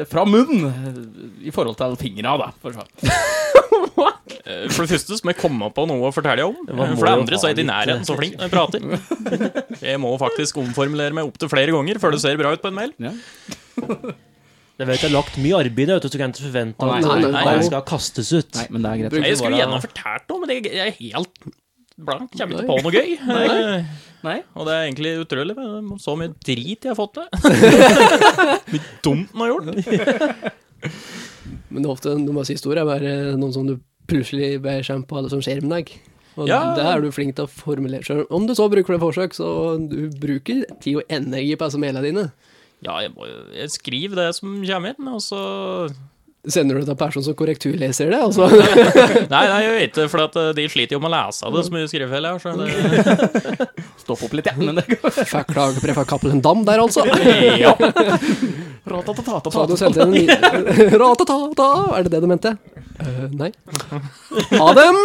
B: fra munnen i forhold til fingra, da. For så.
E: Eh, For det første så må jeg komme på noe å fortelle om.
C: må
E: Eh, For det
C: jo
E: andre
C: ha
E: så er jeg i
C: litt, eh,
E: nærheten så flink når jeg prater. Jeg må faktisk omformulere meg opptil flere ganger før det ser bra ut på en mail.
C: Jeg vet jeg har lagt mye arbeid i det, vet du, så du kan ikke forvente
B: Å,
C: at
B: nei,
A: nei,
C: det
A: nei.
C: skal kastes ut.
B: Nei, men det er greit.
E: Jeg skulle
B: Bare-
E: gjerne ha fortalt noe, men jeg jeg er helt blank. Kommer ikke på noe gøy. Eh,
B: Nei.
E: Og det er egentlig utrolig, men så mye drit jeg har fått til. Mye dumt man har gjort.
A: Men det er ofte noen av disse historiene er bare noen som du plutselig beskjemmer på, eller som skjer med deg. Og
E: Ja.
A: det er du flink til å formulere sjøl. Om du så bruker det forsøk, så du bruker tid og energi på disse mailene dine.
E: Ja, jeg, må, jeg skriver det som kommer inn, og så
A: Sender du det til en person som korrekturleser det, og så
E: Nei, nei, jeg vet det, for at eh, de sliter jo med å lese det så mye skrivefeil jeg har, så det
B: Stopp opp litt, ja. Men det går.
A: Fikk klage på Kappelen Dam der, altså.
E: Ja.
A: Så hadde du sendt en Ratatata! Er det det du mente? Eh, nei. Ha dem!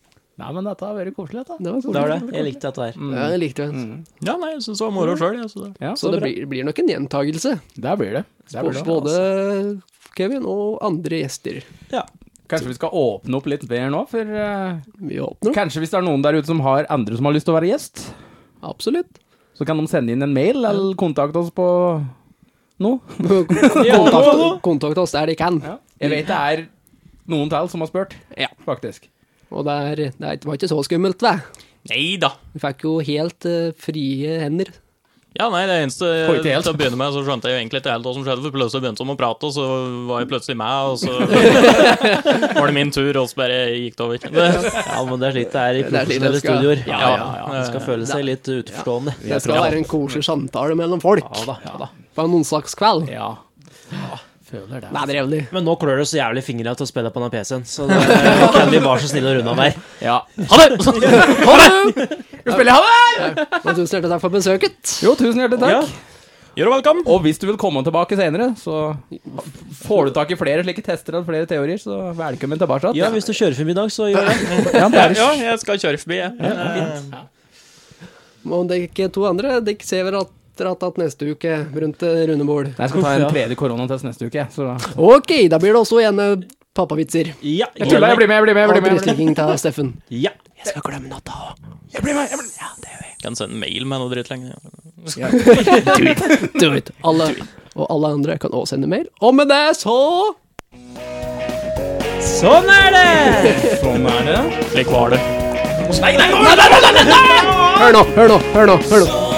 B: Nei, men dette har vært koselig, dette.
A: Det var
C: Det var
A: koselig.
C: det. Jeg likte dette her.
A: Ja, jeg likte det.
E: Ja, nei, jeg syns det var moro sjøl, jeg. Så det.
B: Mm. Ja,
A: Så det blir, blir nok en gjentagelse.
B: Der blir det. altså. Der blir det.
A: Både Kevin og andre gjester.
B: Kanskje vi skal åpne opp litt mer nå, for eh,
A: Vi åpner opp.
B: kanskje hvis det er noen der ute som har andre som har lyst til å være gjest,
A: Absolutt.
B: så kan de sende inn en mail eller kontakte oss på noe.
A: kontakt, kontakt oss der de kan.
B: Jeg vet det er noen til som har spurt, faktisk.
A: Og det, er, det er- det var ikke så skummelt, det.
E: Nei da.
A: Vi fikk jo helt eh, frie hender
E: Ja, nei, det eneste
B: Får ikke helt.
E: Til å begynne med så skjønte jeg jo egentlig ikke helt hva som skjedde, for plutselig begynte de å prate, og så var jeg plutselig med, og så var det min tur, og så bare gikk det over. Det,
C: Ja, men det er slik det
A: Det er
C: er i
A: slik det
C: profesjonelle
A: skal-
C: studioer.
B: Ja,
E: ja,
B: ja,
C: Man skal føle seg litt utenforstående.
A: Det skal være en koselig samtale mellom folk
C: Ja da, ja da.
A: på en onsdagskveld.
B: ja. Ah, Føler det.
A: Det er drevlig.
C: Men nå klør det så jævlig i fingrene til å spille på den PC-en, så det kan vi være så snille å runde av her.
B: Ja.
E: ha det!
B: Ha det! Skal vi spille ha det?
A: Men tusen hjertelig takk for besøket.
B: Jo, tusen hjertelig takk.
C: Ja.
E: Gjør det velkommen!
B: Og hvis du vil komme tilbake senere, så får du tak i flere slike tester og flere teorier, så velkommen tilbake.
C: Ja, hvis du kjører forbi i dag, så gjør det.
B: Ja, det er det.
E: Ja, jeg skal kjøre forbi, jeg.
A: Og dere to andre, dere ser vel at dere har tatt neste uke rundt eh, det runde bord.
B: Nei, Jeg skal ta en
C: Ja.
B: tredje koronatest neste uke. jeg, Så
A: Ok, da blir det også igjen eh, pappavitser.
C: Ja,
B: jeg tuller. Jeg blir med, jeg blir med. Jeg
A: Og
B: blir med, jeg blir med.
A: brystdekking til Steffen.
C: Ja.
A: Jeg skal glemme natta òg.
E: Kan sende en mail med noe dritt lenge.
A: Do it. Alle, og alle andre kan også sende mail. Og med det så
C: Sånn er det!
E: Sånn er det. Slik var det.
A: Hør nå, hør nå, hør nå! Hør nå.